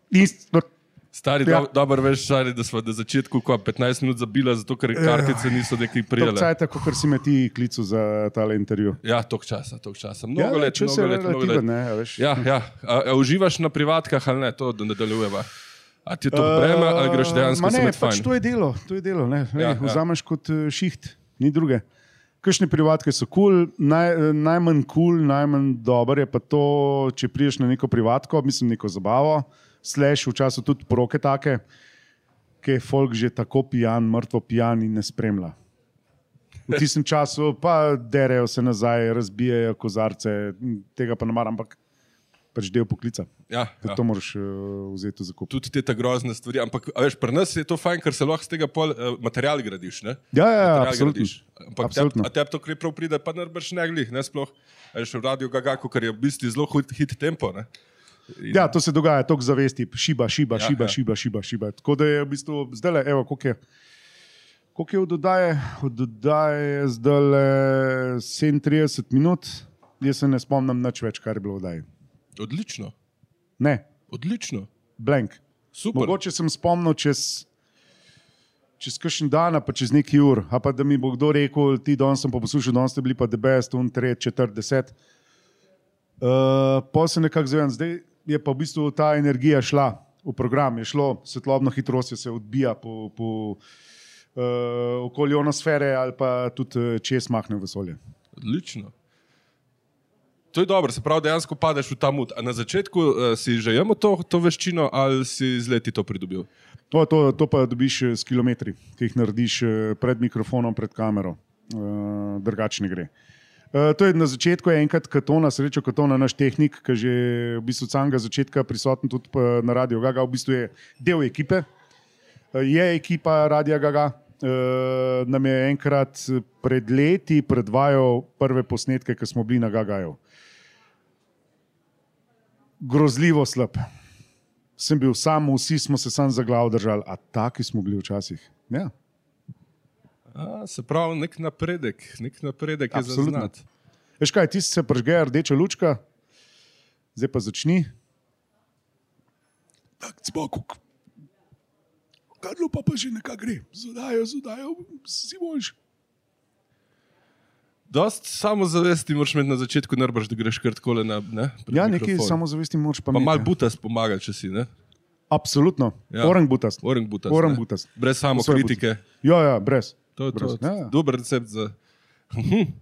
Speaker 2: ist, dort.
Speaker 1: stari,
Speaker 2: Ja.
Speaker 1: ja. do, dobro veš, stari, da smo na začetku ko, 15 minut zabila, zato ker
Speaker 2: Ja.
Speaker 1: kartice niso neki
Speaker 2: Tako
Speaker 1: prijele.
Speaker 2: cajt, kot si me ti klical za tale intervju.
Speaker 1: Ja, tok časa, tok časa.
Speaker 2: Ja,
Speaker 1: Mnogo
Speaker 2: ne,
Speaker 1: ja, let,
Speaker 2: če se
Speaker 1: mnogo let, mnogo
Speaker 2: relativen,
Speaker 1: let.
Speaker 2: ne, a veš.
Speaker 1: Ja, ja. A, a uživaš na privatkah ali ne, to da nadaljujeva. A ti je to breme ali greš dejansko
Speaker 2: Ma
Speaker 1: samo
Speaker 2: ne,
Speaker 1: med
Speaker 2: pač
Speaker 1: fajn?
Speaker 2: to je delo, to je delo ne, ne, ja,
Speaker 1: Ja,
Speaker 2: ja.
Speaker 1: ja.
Speaker 2: Vzameš kot eh, šiht, ni druge. Kakšne privatke so kul, cool, naj, eh, najmanj kul, cool, najmanj dober je pa to, če priješ na neko privatko, mislim, neko zabavo, slash včasih tudi poroke take, ki je folk že tako pijan, mrtvo pijan in ne spremlja. V tistem času pa derejo se nazaj, razbijajo kozarce, tega pa ne maram, ampak pač del poklica.
Speaker 1: Ja,
Speaker 2: Ja.
Speaker 1: ja.
Speaker 2: To moraš eh, vzeti za kup.
Speaker 1: Tudi te ta grozne stvari, ampak a veš, pri nas je to fajn, ker se lahko z tega pol, eh, material gradiš. Ne?
Speaker 2: Ja, ja, ja
Speaker 1: Material
Speaker 2: absolutno.
Speaker 1: gradiš. Ampak ja,
Speaker 2: Absolutno.
Speaker 1: te, te to kri prav pride, pa ne brš neglih, ne sploh. A Veš, v radio gagaku, ker je v bistvu zelo hud, hit tempo. Ne?
Speaker 2: Ja, to se dogaja, tok zavesti, šiba, šiba,
Speaker 1: Ja,
Speaker 2: ja, šiba, ja.
Speaker 1: ja.
Speaker 2: šiba, šiba, šiba. Tako da je v bistvu zdaj le, evo, koliko je. Koliko je od oddaje? Od oddaje je zdaj le 37 minut, jaz se ne spomnim nič več, kar je bilo v oddaji.
Speaker 1: Odlično,
Speaker 2: Ne,
Speaker 1: odlično,
Speaker 2: blank.
Speaker 1: super.
Speaker 2: Mogoče sem spomnil čez, čez kakšen dan, ali pa čez neki ur, ali pa da mi bo kdo rekel, ti danes sem pa poslušal, danes ste bili pa debest, un, tret, četrt, deset. Uh, pa se nekako zavem, zdaj je pa v bistvu ta energija šla v program, je šlo, svetlobno hitrost je se odbija po, po uh, okolju onosfere ali pa tudi eh, čez mahne v vesolje.
Speaker 1: Odlično. To je dobro, se pravi, dejansko padeš v ta mut. A na začetku uh, si že imel to, to veščino ali si z leti to pridobil?
Speaker 2: To, to, to pa dobiš eh, s kilometri, ki jih narediš eh, pred mikrofonom, pred kamero. Uh, Eh, drugače ne gre. Eh, To je na začetku enkrat Katona, srečo Katona, naš tehnik, ki je že v bistvu od samega začetka prisoten tudi eh, na Radio Gaga, v bistvu je del ekipe. Eh, Je ekipa Radio Gaga. Uh, nam je enkrat pred leti predvajal prve posnetke, ki smo bili na Gagaju. Grozljivo slab. Sem bil sam, vsi smo se sam za glavo držali, a taki smo bili včasih. Ja.
Speaker 1: A, se pravi, nek napredek, nek napredek je
Speaker 2: Absolutno.
Speaker 1: zaznati.
Speaker 2: Veš kaj, ti se pržge rdeča lučka, zdaj pa začni.
Speaker 3: tak cmokuk. Kadlo pa, pa že nekako gre, zodajo, zodajo, si boš.
Speaker 1: Dost samozavesti moraš imeti na začetku, ne brž, da greš kar tako na. Ne, pred
Speaker 2: Ja, nekaj
Speaker 1: mikrofon.
Speaker 2: samozavesti moraš pa
Speaker 1: Pa
Speaker 2: imeti. ja.
Speaker 1: mal butas pomaga, če si, ne?
Speaker 2: Absolutno,
Speaker 1: Ja.
Speaker 2: ja. orang butas.
Speaker 1: Orang butas.
Speaker 2: Orang
Speaker 1: ne.
Speaker 2: butas.
Speaker 1: Brez samo
Speaker 2: Svoj
Speaker 1: kritike.
Speaker 2: butas. Ja, ja, brez.
Speaker 1: To je to.
Speaker 2: brez. Ja, ja.
Speaker 1: Dober recept za. Mhm.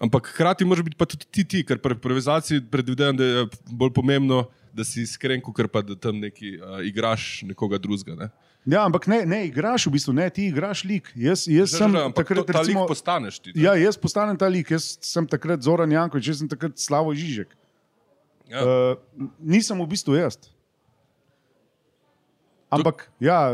Speaker 1: Ampak hkrati moraš biti pa tudi ti, ti ker pri improvizaciji predvidevam, da je bolj pomembno, da si iskren, kot pa da tam neki uh, igraš nekoga drugega. Ne?
Speaker 2: ja, ampak ne, ne igraš v bistvu, ne, ti igraš lik. Jaz, jaz
Speaker 1: Zdaj,
Speaker 2: sem
Speaker 1: že, ampak
Speaker 2: takrat,
Speaker 1: to, ta
Speaker 2: recimo,
Speaker 1: lik postaneš ti. ne.
Speaker 2: ja, jaz postanem ta lik, jaz sem takrat Zoran Jankovič, jaz sem takrat Slavo Žižek.
Speaker 1: Ja.
Speaker 2: Uh, nisem v bistvu jaz. Ampak, ja,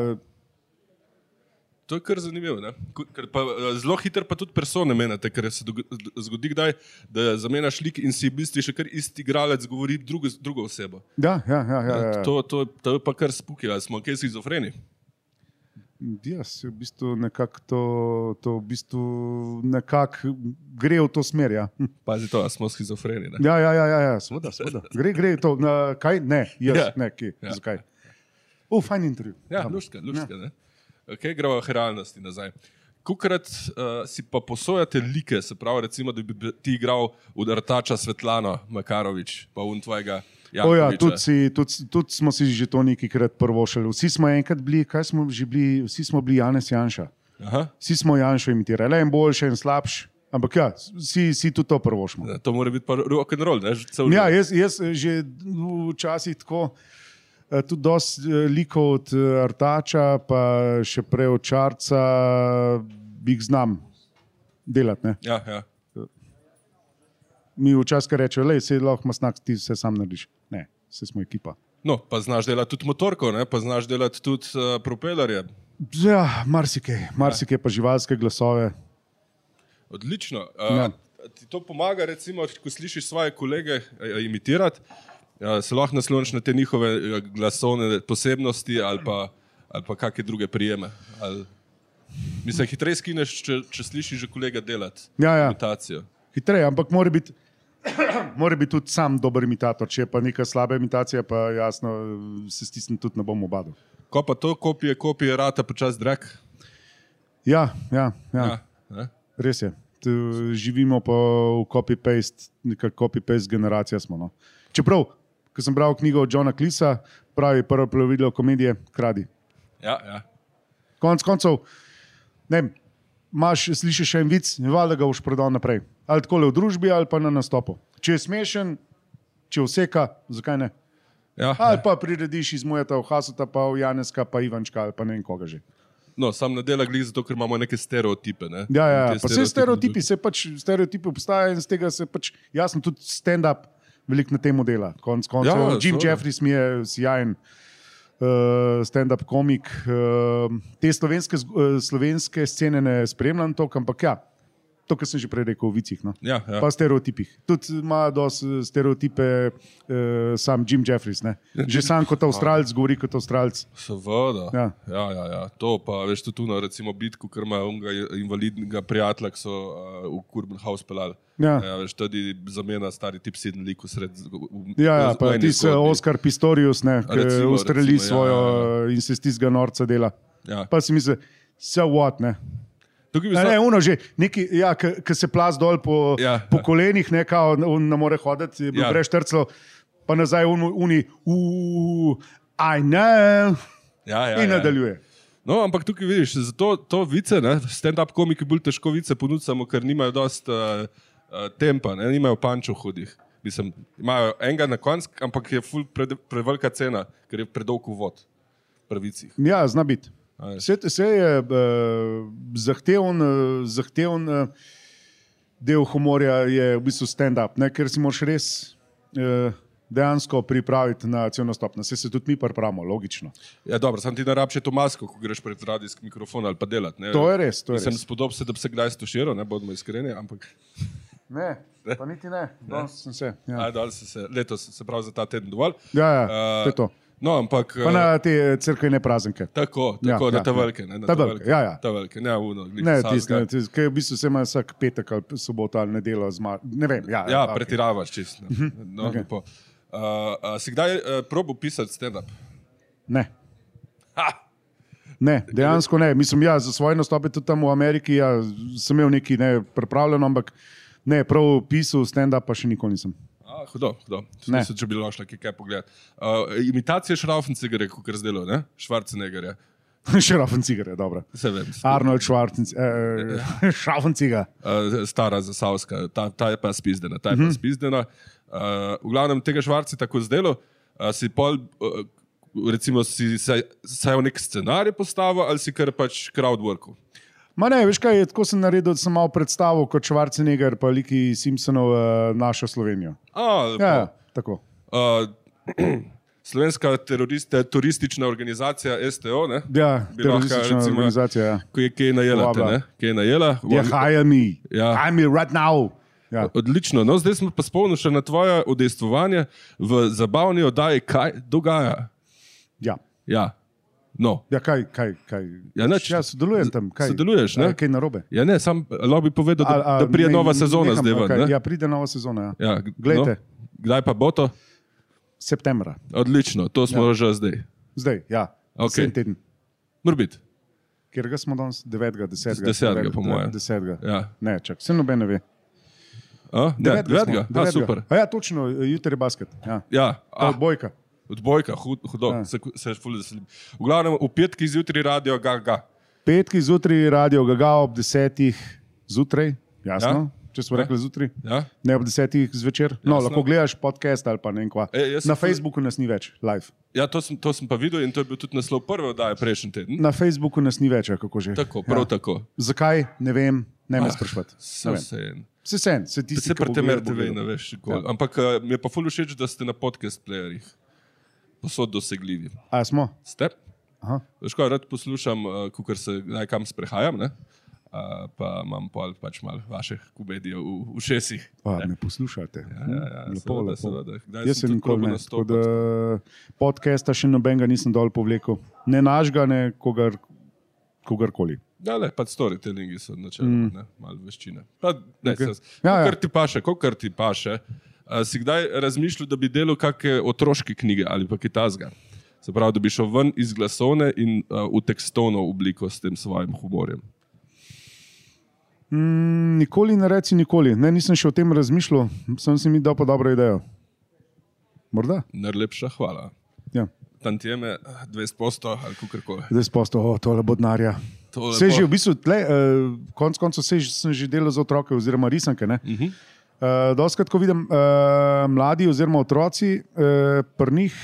Speaker 1: To je kar zanimivo. ne. Ko- ker Pa, eh, zelo hitro pa tudi persone menjate, ker se dog- zgodi kdaj, da zamenjaš lik in si v bistvu še kar isti igralec, govori drugo, z drugo osebo.
Speaker 2: ja, ja, ja, ja, ja.
Speaker 1: To, to, to je pa kar spuki, ali smo kaj schizofreni.
Speaker 2: Ja, Jaz v bistvu nekako to, to v bistvu nekako gre v to smer. Ja,
Speaker 1: Pazi to, ali smo schizofreni. ne.
Speaker 2: ja, ja, ja, ja, ja seveda, seveda. Gre, gre to, na, kaj ne,
Speaker 1: Ja.
Speaker 2: jaz ja. ne, ki,
Speaker 1: Ja.
Speaker 2: ja. zakaj. Uf, fajn intervju.
Speaker 1: Ja,
Speaker 2: Dobro.
Speaker 1: luška, luška. Ja. Okay, gremo k realnosti nazaj. Kukrat uh, si pa posojate like, se pravi, recimo, da bi bi ti igral udartača Svetlano Makarovič, pa un tvojega.
Speaker 2: O ja,
Speaker 1: Jankovića.
Speaker 2: tudi, si, tudi, tudi smo si že to nekajkrat prvošali. Vsi smo enkrat bili, kaj smo že bili, vsi smo bili Janez Janša.
Speaker 1: Aha,
Speaker 2: Vsi smo Janša imitirali, en boljši, en slabši, ampak ja, vsi, vsi tudi to prvošmo.
Speaker 1: to mora biti pa rock and roll, ne? že cel
Speaker 2: Ja, jaz, jaz že včasih tako. eh, Tudi dosti eh, likov od eh, Artača, pa še prej od Črca, bi jih znam delati. Ne?
Speaker 1: Ja, ja.
Speaker 2: Mi včasih kar rečejo, da se lahko masnak, ti se sam narediš. Ne, vse smo ekipa.
Speaker 1: No, pa znaš delati tudi motorko, ne? pa znaš delati tudi uh, propelerje.
Speaker 2: Ja, marsikaj, marsikaj pa živalske glasove.
Speaker 1: Odlično. Uh, ja.
Speaker 2: Ja.
Speaker 1: Ti to pomaga, recimo, ko slišiš svoje kolege eh, imitirati, uh, se lahko nasloniš na te njihove eh, glasovne posebnosti ali pa, ali pa kakšne druge prijeme. Ali, mislim, hitreje skineš, če, če slišiš že kolega delati
Speaker 2: Ja, ja.
Speaker 1: imitacijo.
Speaker 2: Hitreje, ampak mora biti mora biti tudi sam dober imitator. Če je pa neka slaba imitacija, pa jasno, se stisnem tudi ne bom obadal.
Speaker 1: Ko pa to kopije, kopije, rata počas drag.
Speaker 2: Ja, ja, ja. ja.
Speaker 1: Ja, ne?
Speaker 2: Res je. Tu živimo pa v copy-paste, neka copy-paste generacija smo. No. Čeprav, ko sem bral knjigo od Johna Klisa, pravi prvo plovilo komedije, kradi.
Speaker 1: ja, ja.
Speaker 2: Konec koncev, ne vem, imaš, slišiš en vic, ne valjda ga boš prodal naprej. Ali tako le v družbi, ali pa na nastopu. Če je smešen, če je vseka, zakaj ne?
Speaker 1: ja, ja.
Speaker 2: Ali pa prirediš iz Mojeta, v Hasuta, pa v Janeska, pa Ivančka, ali pa ne vem koga že.
Speaker 1: No, sam na dela glih, zato ker imamo neke stereotipe. Ne?
Speaker 2: Ja, ja,
Speaker 1: Te
Speaker 2: ja. pa vse stereotipi, se pač stereotipi obstajajo in z tega se pač jasno tudi stand-up veliko na tem dela. Konc koncev,
Speaker 1: Ja,
Speaker 2: ja,
Speaker 1: ja,
Speaker 2: Jim
Speaker 1: seveda.
Speaker 2: Jeffries mi je sjajen. Uh, stand-up komik. Uh, te slovenske, zg- uh, slovenske scene ne spremljam toliko, ampak ja, to, kar sem že prej rekel o vicih, no.
Speaker 1: Ja, ja.
Speaker 2: pa stereotipih. Tudi ima dosti eh, stereotipe, uh, sam Jim Jeffries. Ne? Že sam kot avstralc, govori kot avstralc.
Speaker 1: Seveda. Ja.
Speaker 2: Ja.
Speaker 1: Ja, ja, ja. To pa veš tudi tu, na, recimo, bitko, ker ima unga invalidnega prijatelja, ki so uh, v Kurbenhaus pelali.
Speaker 2: Ja.
Speaker 1: ja, veš, tudi zamenja stari tip sedem lik v sred. v- v-
Speaker 2: Ja, ja
Speaker 1: v
Speaker 2: pa
Speaker 1: eni
Speaker 2: ti se
Speaker 1: zgodbi.
Speaker 2: Oskar Pistorius, ne, ki
Speaker 1: recimo, recimo,
Speaker 2: ustreli
Speaker 1: ja,
Speaker 2: svojo
Speaker 1: ja,
Speaker 2: ja, ja. in se stizga norca dela.
Speaker 1: Ja.
Speaker 2: Pa si misli, se what, ne.
Speaker 1: Tukaj bi
Speaker 2: Ne, ne,
Speaker 1: znal-
Speaker 2: uno že, neki, ja, ki se plaz dol po,
Speaker 1: Ja,
Speaker 2: ja,
Speaker 1: ja.
Speaker 2: po kolenih, ne, kao, on ne more hoditi, je bil
Speaker 1: Ja.
Speaker 2: ja. preštrclo, pa nazaj unu, uni, uuu, aj ne,
Speaker 1: Ja, ja,
Speaker 2: in
Speaker 1: ja.
Speaker 2: nadaljuje.
Speaker 1: No, ampak tukaj vidiš, zato to vice, ne, stand-up komiki bolj težko vice ponudijo, samo ker nimajo dost uh, uh, tempa, ne, nimajo pančo hudih. Mislim, imajo enega na koncu, ampak je ful pre, prevelika cena, ker je predolg uvod. Pravicih.
Speaker 2: Ja, zna biti.
Speaker 1: A je.
Speaker 2: eh, Vse, vse je uh, zahteven, uh, zahteven uh, eh, del humorja je v bistvu stand-up, ne, ker si moraš res eh, dejansko pripraviti na celno stopnjo. Vse se tudi mi pripravimo, logično.
Speaker 1: Ja, dobro, sam ti ne rabše to masko, ko greš pred radijski mikrofon ali pa delati. ne.
Speaker 2: To je res, to je
Speaker 1: Sem
Speaker 2: res.
Speaker 1: spodob se, da bi se kdaj stuširal, ne bodimo iskreni, ampak
Speaker 2: Ne, pa niti ne, danes sem se. Ja,
Speaker 1: ja. dal sem se letos, se pravi za ta teden dovolj.
Speaker 2: ja, ja
Speaker 1: Eh,
Speaker 2: to je to.
Speaker 1: No, ampak.
Speaker 2: Pa
Speaker 1: eh,
Speaker 2: na te crkvene praznike.
Speaker 1: Tako,
Speaker 2: Ja,
Speaker 1: tako ja, na
Speaker 2: ja,
Speaker 1: te
Speaker 2: ja.
Speaker 1: velike. ne, na
Speaker 2: Ta
Speaker 1: te
Speaker 2: velike, ja, ja.
Speaker 1: Ta velike, ne, uno, glih,
Speaker 2: Ne,
Speaker 1: vsakega.
Speaker 2: tisti, ne, tisti, ki v bistvu se ima vsak petek ali soboto ali nedeljo, zma, ne vem. Ja,
Speaker 1: Ja,
Speaker 2: ok. Mhm.
Speaker 1: pretiravaš čisto. ne. No,
Speaker 2: okej.
Speaker 1: lepo. Uh, uh, si kdaj uh, probo pisati stand-up?
Speaker 2: Ne.
Speaker 1: Ha!
Speaker 2: Ne, dejansko ne. Mislim, ja, za svoje nastope tudi tam v Ameriki ja, sem imel nekaj ne, pripravljeno, ampak ne, prav pisal, stand-up pa še nikoli nisem.
Speaker 1: A, hudo, hudo.
Speaker 2: Ne.
Speaker 1: Nisem, če bi lahko šla kaj pogledati. Uh, imitacije šraufencegerja, kot je zdelo, ne? Švarcenegerja.
Speaker 2: še raven cigar je dobro.
Speaker 1: Se vem. s-
Speaker 2: Arnold Schwarzenegger, eh, šaven cigar.
Speaker 1: Uh, stara zasavska, ta, ta je pa spizdena, ta je
Speaker 2: Mhm.
Speaker 1: pa spizdena. Uh, v glavnem tega švarci tako zdelo, uh, si pol, uh, recimo, si saj, saj v nek scenarij postavil ali si kar pač crowdworku.
Speaker 2: Ma ne, veš kaj, tako sem naredil, da sem malo predstavil kot Schwarzenegger, pa liki Simpsonov eh, našo Slovenijo.
Speaker 1: A,
Speaker 2: Ja,
Speaker 1: ja.
Speaker 2: ja, tako.
Speaker 1: uh, Slovenska teroriste, turistična organizacija STO, ne?
Speaker 2: Ja,
Speaker 1: Bi lahko,
Speaker 2: teroristična
Speaker 1: recimo,
Speaker 2: organizacija. Ja.
Speaker 1: Ko je kaj najela, te,
Speaker 2: Povabila.
Speaker 1: ne? Kaj je najela?
Speaker 2: Ja, hire me,
Speaker 1: Ja.
Speaker 2: hire me right now. Ja.
Speaker 1: Odlično, no zdaj smo pa spomnili še na tvoje udejstvovanje v zabavni oddaji, kaj dogaja.
Speaker 2: Ja.
Speaker 1: Ja, no.
Speaker 2: Ja, kaj, kaj, kaj.
Speaker 1: Ja, nič.
Speaker 2: ja, sodelujem tam. Kaj,
Speaker 1: Sodeluješ, ne?
Speaker 2: Ja, kaj narobe?
Speaker 1: Ja, ne, sam lahko bi povedal, da,
Speaker 2: A- a
Speaker 1: da prije
Speaker 2: ne-
Speaker 1: nova sezona
Speaker 2: neham,
Speaker 1: zdaj
Speaker 2: ali kaj?
Speaker 1: ven. ne?
Speaker 2: Ja, pride nova sezona. Ja.
Speaker 1: Ja, g-
Speaker 2: Glejte.
Speaker 1: no. Kdaj pa bo to?
Speaker 2: Septembra,
Speaker 1: Odlično, to smo ja. že zdaj.
Speaker 2: zdaj, ja.
Speaker 1: Ok.
Speaker 2: Sedem teden.
Speaker 1: Morbit.
Speaker 2: Ker ga smo danes 9, 10,
Speaker 1: 10., po moje.
Speaker 2: 10.
Speaker 1: Ja.
Speaker 2: Ne, čak, vse noben ne ve.
Speaker 1: A? Ne,
Speaker 2: Devetega smo,
Speaker 1: devetega. A,
Speaker 2: devetega.
Speaker 1: super.
Speaker 2: A ja, točno, jutri je basket. Ja.
Speaker 1: Ja,
Speaker 2: Ah.
Speaker 1: ah,
Speaker 2: Odbojka.
Speaker 1: odbojka, hud, hudo, ja.
Speaker 2: Ja.
Speaker 1: se, se ful veselim. V glavnem, v petkih zjutraj radio, ga, ga.
Speaker 2: Petki zjutraj, radio Gaga ob 10. zjutraj, jasno, ja. če
Speaker 1: Ja.
Speaker 2: smo ja. rekli zjutraj.
Speaker 1: Ja?
Speaker 2: Ne ob 10. zvečer. No,
Speaker 1: Jasno.
Speaker 2: lahko gledaš podcast ali pa ne. vem kva.
Speaker 1: E, jaz sem
Speaker 2: Na
Speaker 1: tudi-
Speaker 2: Facebooku nas ni več, live.
Speaker 1: Ja, to sem, to sem pa videl in to je bil tudi naslov prve oddaje prejšnji teden.
Speaker 2: Na Facebooku nas ni več, ali kako že.
Speaker 1: Tako, prav Ah, ja. tako.
Speaker 2: Zakaj, ne vem, ne me sprašvati. Ne vem.
Speaker 1: Vse en.
Speaker 2: Se sen, se ti
Speaker 1: Se
Speaker 2: ki bo
Speaker 1: pri tem
Speaker 2: gledal, bo
Speaker 1: RTV ne
Speaker 2: gledal.
Speaker 1: veš, kako. Ja. Ampak eh, mi je pa ful všeč, da ste na podcast playerjih. Posod dosegljivi.
Speaker 2: A smo?
Speaker 1: Ste?
Speaker 2: Aha.
Speaker 1: Veš, kaj rad poslušam, eh, ko se kdaj kam sprehajam, ne? Eh, pa imam pol pač malo vaših komedijev v, v šesih.
Speaker 2: Pa, me poslušate. Ja,
Speaker 1: ja, ja,
Speaker 2: lepo,
Speaker 1: seveda,
Speaker 2: lepo.
Speaker 1: seveda. Kdaj
Speaker 2: Jaz
Speaker 1: sem
Speaker 2: sem
Speaker 1: tudi
Speaker 2: nikoli
Speaker 1: probil
Speaker 2: ne. tako
Speaker 1: nastopati.
Speaker 2: Da, podcasta še nobenega nisem dol povlekel. Ne našega, ne kogar, kogarkoli.
Speaker 1: Ja, le, pač storytellingi so načeloma, mm. malo veščine. Pa, ne, okay.
Speaker 2: Okej.
Speaker 1: se, ja,
Speaker 2: Ja, ja.
Speaker 1: kar ti paše, kot kar ti paše. A, si kdaj razmišljal, da bi delal kakšne otroške knjige ali pa kaj tasga? Se pravi, da bi šel ven iz glasovne in a, v tekstovno obliko s tem svojim humorjem.
Speaker 2: Mm, nikoli ne reci nikoli. Ne, nisem še o tem razmišljal, sem si mi dal pa dobro idejo. Morda.
Speaker 1: Najlepša hvala.
Speaker 2: Ja.
Speaker 1: Tantjeme, 20% ali kakorkoli.
Speaker 2: Zdaj sposto, o, tole bo denarja.
Speaker 1: Tole
Speaker 2: Vse
Speaker 1: bo.
Speaker 2: že v bistvu, tle, uh, konc koncev vse že- sem že delal za otroke, oziroma risanke. Uh
Speaker 1: Mhm.
Speaker 2: -huh. uh, Doskrat, ko vidim uh, mladi, oziroma otroci, uh, pri njih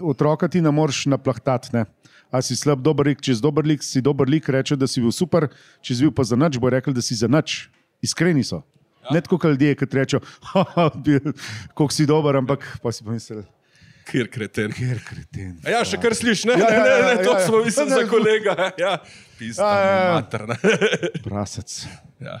Speaker 2: otroka ti ne moreš naplahtati. Ne? A si slab, dober lik, če si dober lik, si dober lik, reče, da si bil super, če si bil pa za nič, bo rekel, da si za nič. Iskreni so. Ja. Ne tako kot ljudje, ki rečejo, kako si dober, ampak pa si pomislil,
Speaker 1: Kjer kreten.
Speaker 2: ker kreten.
Speaker 1: A Ja, še kar slišiš, ne,
Speaker 2: Ja,
Speaker 1: ne,
Speaker 2: ja,
Speaker 1: ne, ne,
Speaker 2: ja,
Speaker 1: to
Speaker 2: ja, ja.
Speaker 1: smo mislili
Speaker 2: Ne,
Speaker 1: za
Speaker 2: ne,
Speaker 1: kolega. Ja, pizda,
Speaker 2: Ja, ja, ja.
Speaker 1: materna.
Speaker 2: Prasec.
Speaker 1: Ja,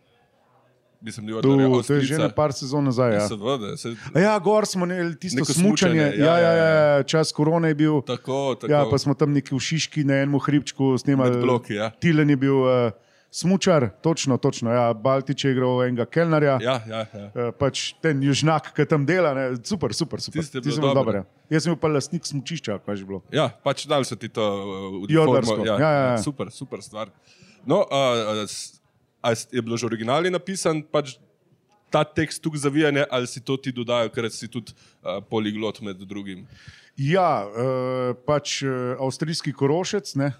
Speaker 1: Mislim, da
Speaker 2: To,
Speaker 1: Jodlerja,
Speaker 2: to je že
Speaker 1: Avstrijca.
Speaker 2: na par sezon nazaj. Ja.
Speaker 1: Seveda, se,
Speaker 2: A Ja, gor smo imeli tisto
Speaker 1: Neko
Speaker 2: smučanje.
Speaker 1: smučanje,
Speaker 2: Ja, ja, ja, čas korone je bil.
Speaker 1: tako, tako.
Speaker 2: Ja, pa smo tam neki v Šiški na enem hribčku snemali.
Speaker 1: Med bloki, ja.
Speaker 2: Tilen je bil uh, smučar, točno, točno. Ja, Baltič je igral enega kelnarja.
Speaker 1: ja, ja, ja.
Speaker 2: Eh, pač ten južnjak, ki tam dela, ne, super, super. super.
Speaker 1: Tisto je
Speaker 2: Tisto
Speaker 1: bilo
Speaker 2: je bilo
Speaker 1: dobro.
Speaker 2: dobro, ja. Jaz sem bil pa lastnik smučišča, kaj že bilo.
Speaker 1: ja, pač dal se ti to uh, v
Speaker 2: Jodlersko,
Speaker 1: formo,
Speaker 2: ja, ja, ja.
Speaker 1: Super, uh, super stvar. No, a, a, s- a je bilo že originalno napisan, pač ta tekst tukaj zavijanje, ali si to ti dodajo, ker si tudi uh, poliglot med drugim.
Speaker 2: Ja, eh, pač eh, avstrijski korošec, ne,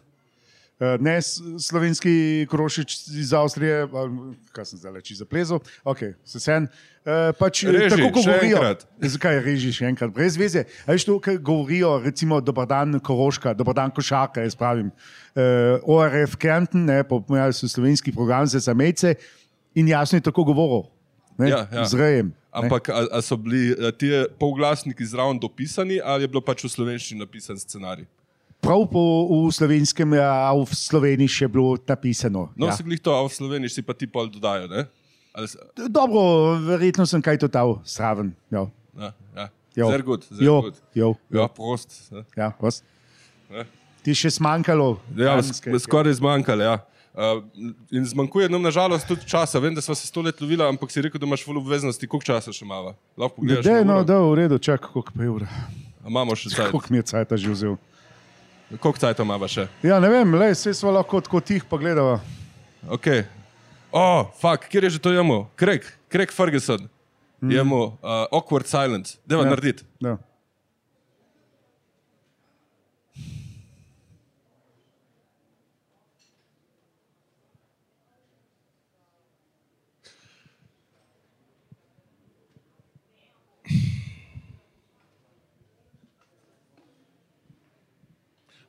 Speaker 2: Eh, ne s- slovenski korošec iz Avstrije, ali, kaj sem zdaj reči zaplezel, okay, se sen. Eh, Pač, eh,
Speaker 1: Reži,
Speaker 2: tako kot
Speaker 1: še
Speaker 2: govorijo.
Speaker 1: enkrat.
Speaker 2: Zakaj režiš še enkrat, brez veze? A veš to, kar govorijo, recimo, dober dan Koroška, dober dan Košarka, jaz pravim. Uh, ORF Kärnten, ne, pomenijo so slovenski program za zamejce in jasno je tako govoril. Ne,
Speaker 1: Ja, ja.
Speaker 2: Z rejem.
Speaker 1: Ampak a, a so bili a, ti eh, polglasniki zraven dopisani, ali je bilo pač v slovenščini napisan scenarij?
Speaker 2: Prav po v slovenskem, a v Sloveniji še bilo napisano.
Speaker 1: No, ja.
Speaker 2: ja.
Speaker 1: se glih to, a v slovenščini si pa ti pol dodajo. Ne? Ali, s-
Speaker 2: Dobro, verjetno sem kaj total zraven. Ja,
Speaker 1: ja, ja.
Speaker 2: Jo.
Speaker 1: Zelo gut,
Speaker 2: Jo,
Speaker 1: zelo gut.
Speaker 2: jo,
Speaker 1: Ja, prost. ne.
Speaker 2: ja, vas. Ja.
Speaker 1: Ne.
Speaker 2: Ti še zmanjkalo.
Speaker 1: Ja,
Speaker 2: danske-
Speaker 1: sk- skoraj zmanjkalo. Ja. Uh, in zmanjkuje nam nažalost tudi časa. Vem, da smo se sto let lovili, ampak si rekel, da imaš veliko obveznosti. Koliko časa še imamo? Lahko pogledaš.
Speaker 2: Dej,
Speaker 1: na
Speaker 2: no,
Speaker 1: uro?
Speaker 2: da, v redu, čakaj, koliko pa je ura.
Speaker 1: A Imamo še čas.
Speaker 2: Koliko mi je cajt že vzel?
Speaker 1: Koliko časa imamo še?
Speaker 2: Ja, ne vem, le, vse smo lahko tako tih pogledali.
Speaker 1: Okay. O, oh, fuk, kje je že to jemo? Craig, Craig Ferguson. Mm. Jemo uh, awkward silence. Deva ja. narediti.
Speaker 2: Ja.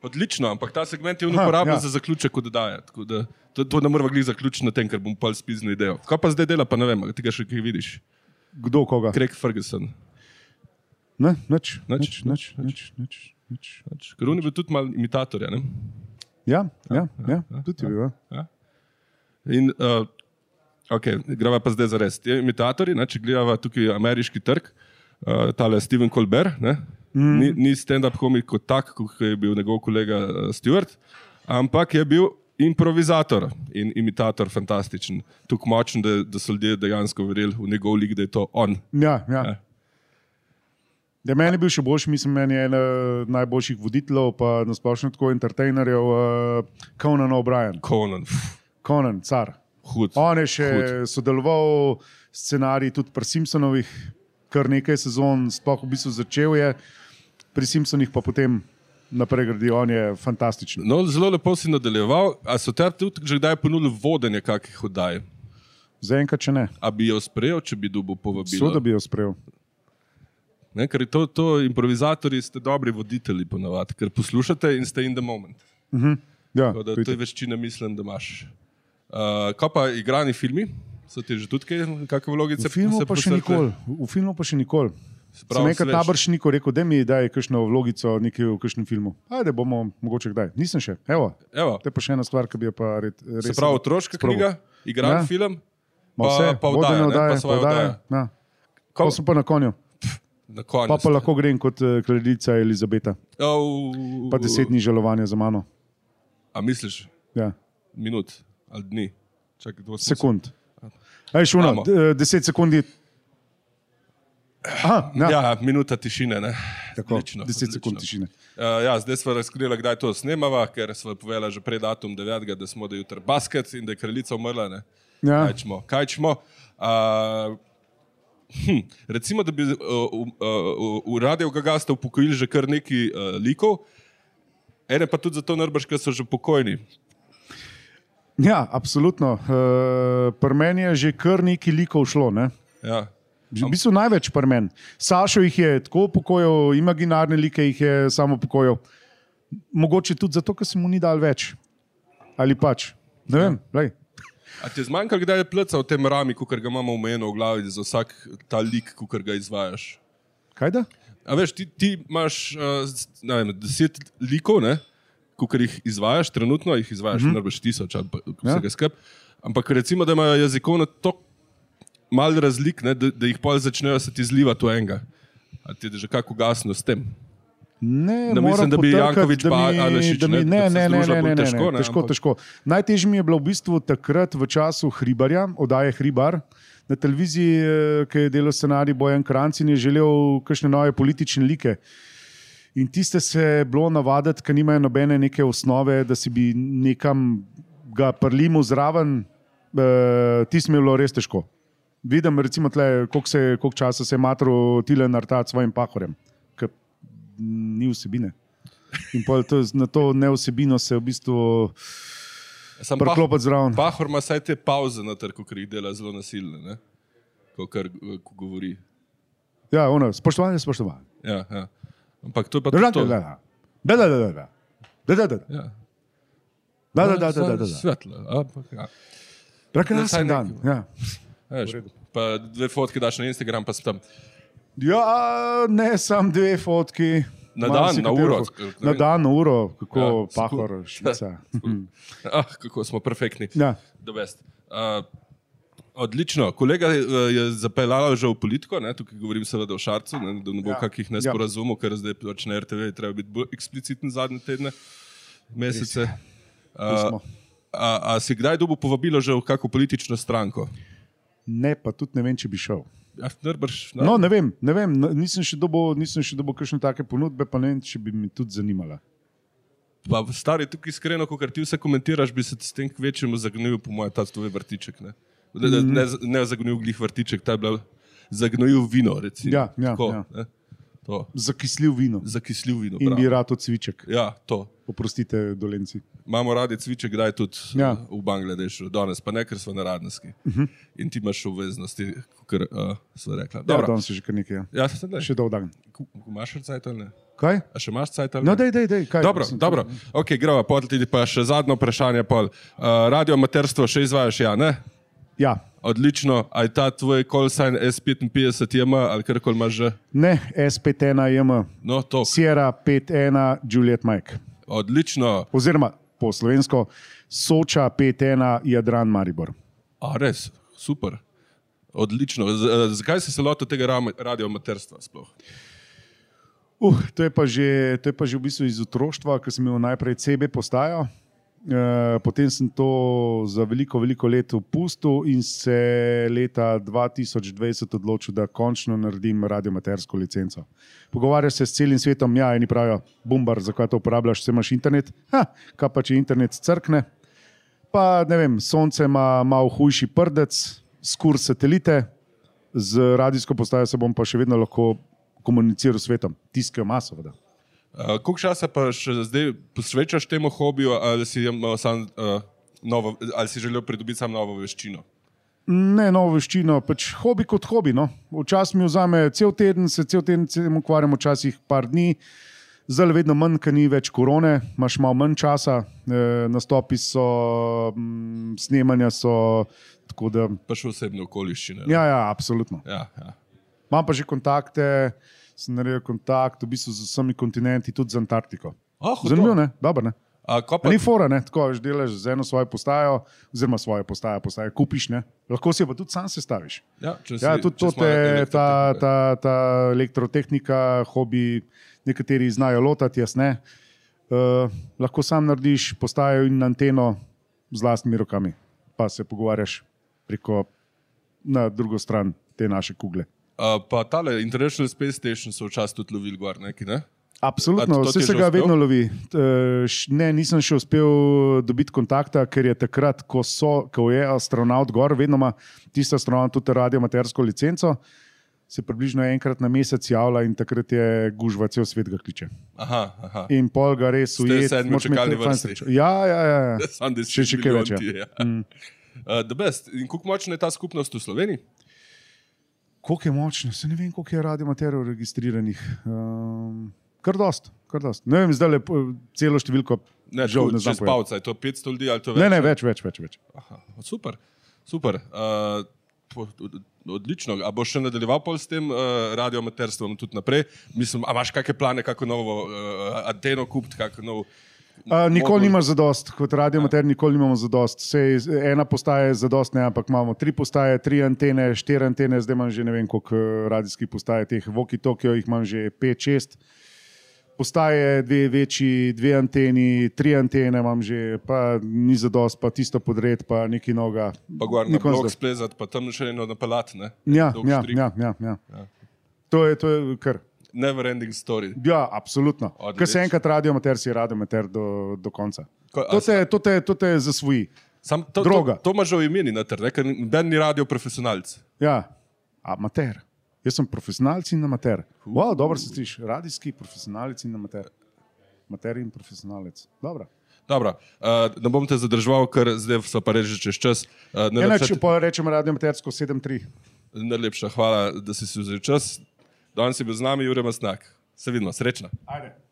Speaker 1: Odlično, ampak ta segment je
Speaker 2: Aha,
Speaker 1: uporabljen
Speaker 2: ja.
Speaker 1: ja. za zaključek oddaje. tako da To, to ne morem glih zaključiti na tem, ker bom pol spiznil idejo. Kaj pa zdaj dela, pa ne vem, a ti ga še kaj vidiš.
Speaker 2: Kdo koga?
Speaker 1: Craig Ferguson.
Speaker 2: Ne, nič, nič,
Speaker 1: Nič,
Speaker 2: nič, nič, nič, nič.
Speaker 1: Pač, Ker on je bil tudi mal imitator. Ja, ne?
Speaker 2: Ja, ja, ja, tudi vi.
Speaker 1: In, uh, okay, grava pa zdaj za res. Ti imitatorji, ne, če gledava tukaj ameriški trg, uh, tale Steven Colbert, ne, mm. ni, ni stand-up komik kot tak, kot je bil njegov kolega uh, Stewart, ampak je bil improvizator in imitator fantastičen. Tukaj močen, da, da so ljudje dejansko verjeli v njegov lik, da je to on.
Speaker 2: Ja, ja.
Speaker 1: Ja.
Speaker 2: Ja, meni je bil še boljši, mislim, meni je en eh, najboljših voditeljev, pa nasplošno tako entertainerjev, uh, Conan O'Brien,
Speaker 1: Conan, pff,
Speaker 2: Conan, car.
Speaker 1: hud.
Speaker 2: On je še
Speaker 1: Hud.
Speaker 2: Hud. sodeloval s scenariji tudi pri Simpsonovih, kar nekaj sezon, sploh v bistvu začel je, pri Simpsonih pa potem naprej gradi, on je fantastičen.
Speaker 1: No, zelo lepo si nadaljeval. A so te tudi že kdaj ponudili vodenje kakih oddaj?
Speaker 2: Zaenkrat, če ne,
Speaker 1: A bi jo sprejel, če bi dobil povabilo?
Speaker 2: sudo bi jo sprejel.
Speaker 1: Ne, ker to, to improvizatorji ste dobri voditelji, ponavadi, ker poslušate in ste in the moment.
Speaker 2: Ja,
Speaker 1: Tako Da,
Speaker 2: to
Speaker 1: to je
Speaker 2: je-
Speaker 1: veščina, mislim, da imaš. Uh, kaj pa igrani filmi? So ti že tudi kaj, kakšne vlogice
Speaker 2: v filmu
Speaker 1: se
Speaker 2: pa še
Speaker 1: posrte?
Speaker 2: nikoli. V filmu pa še nikoli. Sem
Speaker 1: pravi,
Speaker 2: enkrat
Speaker 1: svež.
Speaker 2: taboršniku rekel, da mi daj kakšno vlogico nekje v kakšnem filmu. Ajde, bomo mogoče kdaj. Nisem še. Evo,
Speaker 1: Evo,
Speaker 2: to je pa še ena stvar, ki bi jo pa red, res...
Speaker 1: se pravi, otroška
Speaker 2: sprobal.
Speaker 1: knjiga, igran
Speaker 2: Ja.
Speaker 1: ja. film,
Speaker 2: Ma vse,
Speaker 1: pa, pa
Speaker 2: vodene
Speaker 1: vdaja,
Speaker 2: oddaje,
Speaker 1: ne, pa svoje
Speaker 2: pa
Speaker 1: vdaja.
Speaker 2: oddaje, ja.
Speaker 1: Ko,
Speaker 2: Pa sem pa na konju.
Speaker 1: na koncu.
Speaker 2: Pa, pa lahko grem kot eh, kraljica Elizabeta,
Speaker 1: Oh,
Speaker 2: pa deset dni žalovanja za mano.
Speaker 1: A misliš,
Speaker 2: Ja.
Speaker 1: minut ali dni? Čakaj, kdo smo se-
Speaker 2: Sekund. Aj, šuna,
Speaker 1: Damo.
Speaker 2: eh, deset sekund je. Aha, ja, ja,
Speaker 1: Ja, minuta tišine. ne.
Speaker 2: tako,
Speaker 1: Odlično,
Speaker 2: deset sekund
Speaker 1: odlično.
Speaker 2: tišine.
Speaker 1: Uh, ja, zdaj smo razkrili, kdaj to snemava, ker smo povedali že pred datum 9., da smo da jutri basket in da je kraljica umrla. Ne?
Speaker 2: Ja.
Speaker 1: Kaj čmo? Kaj čmo? Uh, hm, recimo, da bi uh, uh, uh, v Radio Gagasta upokojili že kar nekaj uh, likov, ene pa tudi zato narbaš, ker so že pokojni.
Speaker 2: Ja, absolutno. Uh, pri meni je že kar nekaj likov šlo. Ne?
Speaker 1: Ja.
Speaker 2: V bistvu največ pri meni. Sašo jih je tako pokojil, imaginarne like jih je samo pokojil. Mogoče tudi zato, ker se mu ni dal več. Ali pač. Ne vem, ja.
Speaker 1: A ti je zmanjkalo, kdaj je pleca v tem rami, kot ga imamo omejeno v glavi za vsak ta lik, kot ga izvajaš?
Speaker 2: kaj da?
Speaker 1: A veš, ti, ti imaš uh, ne vem, deset likov, ki jih izvajaš, trenutno jih izvajaš,
Speaker 2: Mhm.
Speaker 1: mm -hmm. ne rabiš tisoč ali pa vsega ja. skup. Ampak recimo, da imajo jezikovno tako malo razlik, ne, da, da jih pol začnejo se ti zlivati v enega. A ti je že kako gasno s tem?
Speaker 2: Ne,
Speaker 1: Da
Speaker 2: moram
Speaker 1: mislim, da bi
Speaker 2: potrkati,
Speaker 1: Janković
Speaker 2: da mi-
Speaker 1: pa Alešič,
Speaker 2: da mi-
Speaker 1: ne,
Speaker 2: Ne,
Speaker 1: da se
Speaker 2: ne, ne,
Speaker 1: združila
Speaker 2: ne,
Speaker 1: bolj
Speaker 2: ne, ne,
Speaker 1: težko, ne,
Speaker 2: težko,
Speaker 1: ampak-
Speaker 2: težko. Najtežje mi je bilo v bistvu takrat v času Hribarja, oddaje Hribar. Na televiziji, eh, ki je delal scenarij Bojan Krancin, je želel kakšne nove politične like. In tiste se je bilo navaditi, ker nimajo nobene neke osnove, da si bi nekam ga prlimu zraven, eh, tisto mi je bilo res težko. Vidim, recimo, tle, koliko, se, je- koliko časa se je matro Tile nartat s svojim pahorem, ker ni vsebine. In pol to, na to neosebino se v bistvu
Speaker 1: Sam
Speaker 2: priklopiti zraven.
Speaker 1: Pahor ima vsaj te pauze na trgu, ki jih dela zelo nasilne, ne? ko, kar, ko govori.
Speaker 2: Ja, ono, spoštovanje, spoštovanje.
Speaker 1: Ja, ja. Ampak to je pa tudi
Speaker 2: Držati,
Speaker 1: to.
Speaker 2: da, da, da, da, da, da, da, da, da, da, da,
Speaker 1: Ja.
Speaker 2: da, da, da, da, da, da, da.
Speaker 1: Svetlo, ampak ja.
Speaker 2: Prekrasen
Speaker 1: Saj
Speaker 2: dan.
Speaker 1: nekaj.
Speaker 2: Ja.
Speaker 1: Veš,
Speaker 2: V redu.
Speaker 1: pa dve fotke daš na Instagram, pa si tam.
Speaker 2: ja, ne samo dve fotki.
Speaker 1: Na
Speaker 2: malo
Speaker 1: dan,
Speaker 2: si
Speaker 1: na
Speaker 2: katero
Speaker 1: uro.
Speaker 2: fo- Na dan, na uro, kako
Speaker 1: Ja,
Speaker 2: ja,
Speaker 1: sku-
Speaker 2: pahor, švica.
Speaker 1: Ah, kako smo perfektni.
Speaker 2: Ja.
Speaker 1: The best. Uh, odlično. Kolega eh, je zapeljal že v politiko, ne? tukaj govorim seveda o Šarcu, ne, da ne bo
Speaker 2: Ja.
Speaker 1: ja. kakih nesporazumov, ker zdaj pač na RTV je treba biti bolj ekspliciten zadnje tedne, mesece. Uh,
Speaker 2: smo.
Speaker 1: a, a si kdaj dobil povabilo že v kakšno politično stranko?
Speaker 2: Ne, pa tudi ne vem, če bi šel.
Speaker 1: Ja, Najbrž,
Speaker 2: No, ne vem, ne vem n- nisem še dobil, nisem še dobil kakšne take ponudbe, pa ne vem, če bi mi tudi zanimala.
Speaker 1: Pa stari, tukaj iskreno, ko ti vse komentiraš, bi se s tem kvečemu zagnojil, po mojem, ta tvoj vrtiček. Ne, ne, ne, ne, ne zagnojil glih vrtiček, ta je bila zagnojil vino. Recimo,
Speaker 2: Ja, ja,
Speaker 1: Tako,
Speaker 2: ja.
Speaker 1: ne. To.
Speaker 2: Zakislil vino
Speaker 1: Zakislil vino.
Speaker 2: in
Speaker 1: bravo.
Speaker 2: bi rad odcviček.
Speaker 1: Ja, to.
Speaker 2: Oprostite, dolenci.
Speaker 1: Imamo radi cviček, kdaj tudi
Speaker 2: Ja.
Speaker 1: ja.
Speaker 2: Mhm.
Speaker 1: v Bangladešu, danes pa ne, ker smo na radniški. Uh -huh. In ti imaš obveznosti, kot uh, smo rekli.
Speaker 2: Ja,
Speaker 1: Ja,
Speaker 2: danes je že kar nekaj. Ja.
Speaker 1: ja, se da.
Speaker 2: Še dol dan.
Speaker 1: Imaš še cajt ali ne?
Speaker 2: Kaj?
Speaker 1: A še imaš cajt ali ne?
Speaker 2: No, dej, dej, dej, kaj.
Speaker 1: Dobro,
Speaker 2: Mislim,
Speaker 1: dobro. Okay, gremo, potliti pa še zadnje vprašanje. pol. Uh, radio amaterstvo še izvajaš, ja, ne?
Speaker 2: Ja,
Speaker 1: Odlično, aj ta tvoj kolsajn S55 ima ali kar koli imaš že.
Speaker 2: ne, S51JM,
Speaker 1: No, to.
Speaker 2: Sierra 51, Juliet Mike.
Speaker 1: Odlično,
Speaker 2: Oziroma po slovensko, Soča 51, Jadran Maribor.
Speaker 1: a res, super. Odlično. Z, eh, zakaj si se lotil tega ram- radio amaterstva sploh?
Speaker 2: Uh, to, je pa že, to je pa že v bistvu iz otroštva, ker sem imel najprej CB postajo, eh, potem sem to za veliko, veliko let opustil in se leta 2020 odločil, da končno naredim radiomatersko licenco. Pogovarjaš se s celim svetom, ja, eni pravijo, bombar, zakaj to uporabljaš, vse imaš internet. Ha, kaj pa če internet crkne? Pa ne vem, sonce ima malo hujši prdec, skur satelite, z radijsko postajo se bom pa še vedno lahko komuniciral s svetom, tiskajo maso. Voda.
Speaker 1: Uh, Koliko časa pa še zdaj posvečaš temu hobiju, ali si, imel sam, uh, novo, ali si želel pridobiti samo novo veščino?
Speaker 2: Ne, novo veščino, pač hobi kot hobi. No. Včasih mi vzame cel teden, se cel teden s tem ukvarjam, včasih par dni. Zdaj je vedno manj, ker ni več korone, imaš malo manj časa, e, nastopi so, m, snemanja so. tako Da,
Speaker 1: Pa še osebne okoliščine.
Speaker 2: ja, ja, absolutno.
Speaker 1: Ja, ja.
Speaker 2: Imam pa že kontakte, sem naredil kontakt v bistvu z vsemi kontinenti, tudi z Antarktiko.
Speaker 1: Ah, hudo.
Speaker 2: Zanimivo, ne? Dobro, ne?
Speaker 1: A, ko pa
Speaker 2: Pa ni fora, ne? tako že delaš z eno svojo postajo, oziroma svojo postajo, postajo kupiš, ne? lahko si jo pa tudi sam sestaviš.
Speaker 1: Ja, če si,
Speaker 2: Ja, tudi
Speaker 1: če
Speaker 2: to
Speaker 1: si
Speaker 2: te,
Speaker 1: malo elektrotehnik,
Speaker 2: ta,
Speaker 1: ne.
Speaker 2: ta, ta elektrotehnika, hobi, nekateri znajo lotati, jaz ne. Uh, lahko sam narediš postajo in anteno z vlastnimi rokami, pa se pogovarjaš preko na drugo stran te naše kugle.
Speaker 1: A, pa tale International Space Station so včasih tudi lovili gor, neki, ne? A
Speaker 2: Absolutno,
Speaker 1: to ti
Speaker 2: vse
Speaker 1: je
Speaker 2: se
Speaker 1: že
Speaker 2: ga
Speaker 1: uspel?
Speaker 2: vedno lovi. T- eh, š- Ne, nisem še uspel dobiti kontakta, ker je takrat, ko, so, ko je astronaut gor, vedno ima tisti astronaut tudi radiomatersko licenco, se približno enkrat na mesec javlja in takrat je gužva, cel svet ga kliče.
Speaker 1: Aha, aha.
Speaker 2: In pol ga res
Speaker 1: Ste
Speaker 2: ujet,
Speaker 1: sedmi v
Speaker 2: moraš imeti
Speaker 1: čakalni
Speaker 2: fajn
Speaker 1: vrsti.
Speaker 2: srečo. Ja, ja, ja. ja.
Speaker 1: Sam da
Speaker 2: Še- še kaj več, ja.
Speaker 1: Ja. Uh, the best. In kako močna je ta skupnost v Sloveniji?
Speaker 2: Koliko je močno, se ne vem, koliko je radiomaterjev registriranih. Um, kar dost, kar dost. Ne vem, zdaj le celo številko.
Speaker 1: Ne,
Speaker 2: žal
Speaker 1: tu,
Speaker 2: ne znam
Speaker 1: čez
Speaker 2: povedati.
Speaker 1: pavca, je to 500 ljudi ali to več?
Speaker 2: Ne, ne, več, več, več. več.
Speaker 1: Aha, super, super. Uh, po- od- Odlično. A boš še nadaljeval pol s tem uh, radioamaterstvom tudi naprej? Mislim, a imaš kakšne plane, kako novo uh, anteno kupiti, kako nov...
Speaker 2: A,
Speaker 1: modul?
Speaker 2: nikoli nimaš zadost, kot
Speaker 1: Ja.
Speaker 2: radio mater, nikoli nimamo zadost. Sej, ena postaja je zadost, ne, ampak imamo tri postaje, tri antene, štiri antene, zdaj imam že ne vem koliko eh, radijskih postaj, teh Voki Tokio jih imam že pet, šest. Postaje, dve večji, dve anteni, tri antene imam že, pa ni zadost, pa tisto podred, pa neki noga.
Speaker 1: Pa gor na
Speaker 2: Nikoli
Speaker 1: blok
Speaker 2: zadost.
Speaker 1: splezati, pa tam še eno napalat, ne?
Speaker 2: Ja,
Speaker 1: Dolg
Speaker 2: ja,
Speaker 1: štrik.
Speaker 2: ja, ja, ja.
Speaker 1: Ja.
Speaker 2: To je, to je kar.
Speaker 1: Never ending story.
Speaker 2: Ja, absolutno.
Speaker 1: Odlično.
Speaker 2: Ker se enkrat radio mater, si radio mater do, do konca.
Speaker 1: Ko- a
Speaker 2: To te, to, te, to te zasvoji.
Speaker 1: Sam to,
Speaker 2: Droga.
Speaker 1: To, to imaš že v imeni, noter, ne, ker noben ni radio profesionalc.
Speaker 2: Ja, amater. Jaz sem profesionalc in amater. Wow, dobro se slišiš, radijski profesionalec in amater. Amater in profesionalec. Dobro.
Speaker 1: Dobro, uh, ne bom te zadržal, ker zdaj so pa reži čez čas. Uh,
Speaker 2: Enak, če
Speaker 1: najlepša,
Speaker 2: pa rečem radio amatersko 7-3.
Speaker 1: najlepša hvala, da si si vzel čas. Danes si bil z nami, Jurem Snak. Se vidimo, srečno.
Speaker 2: Ajde.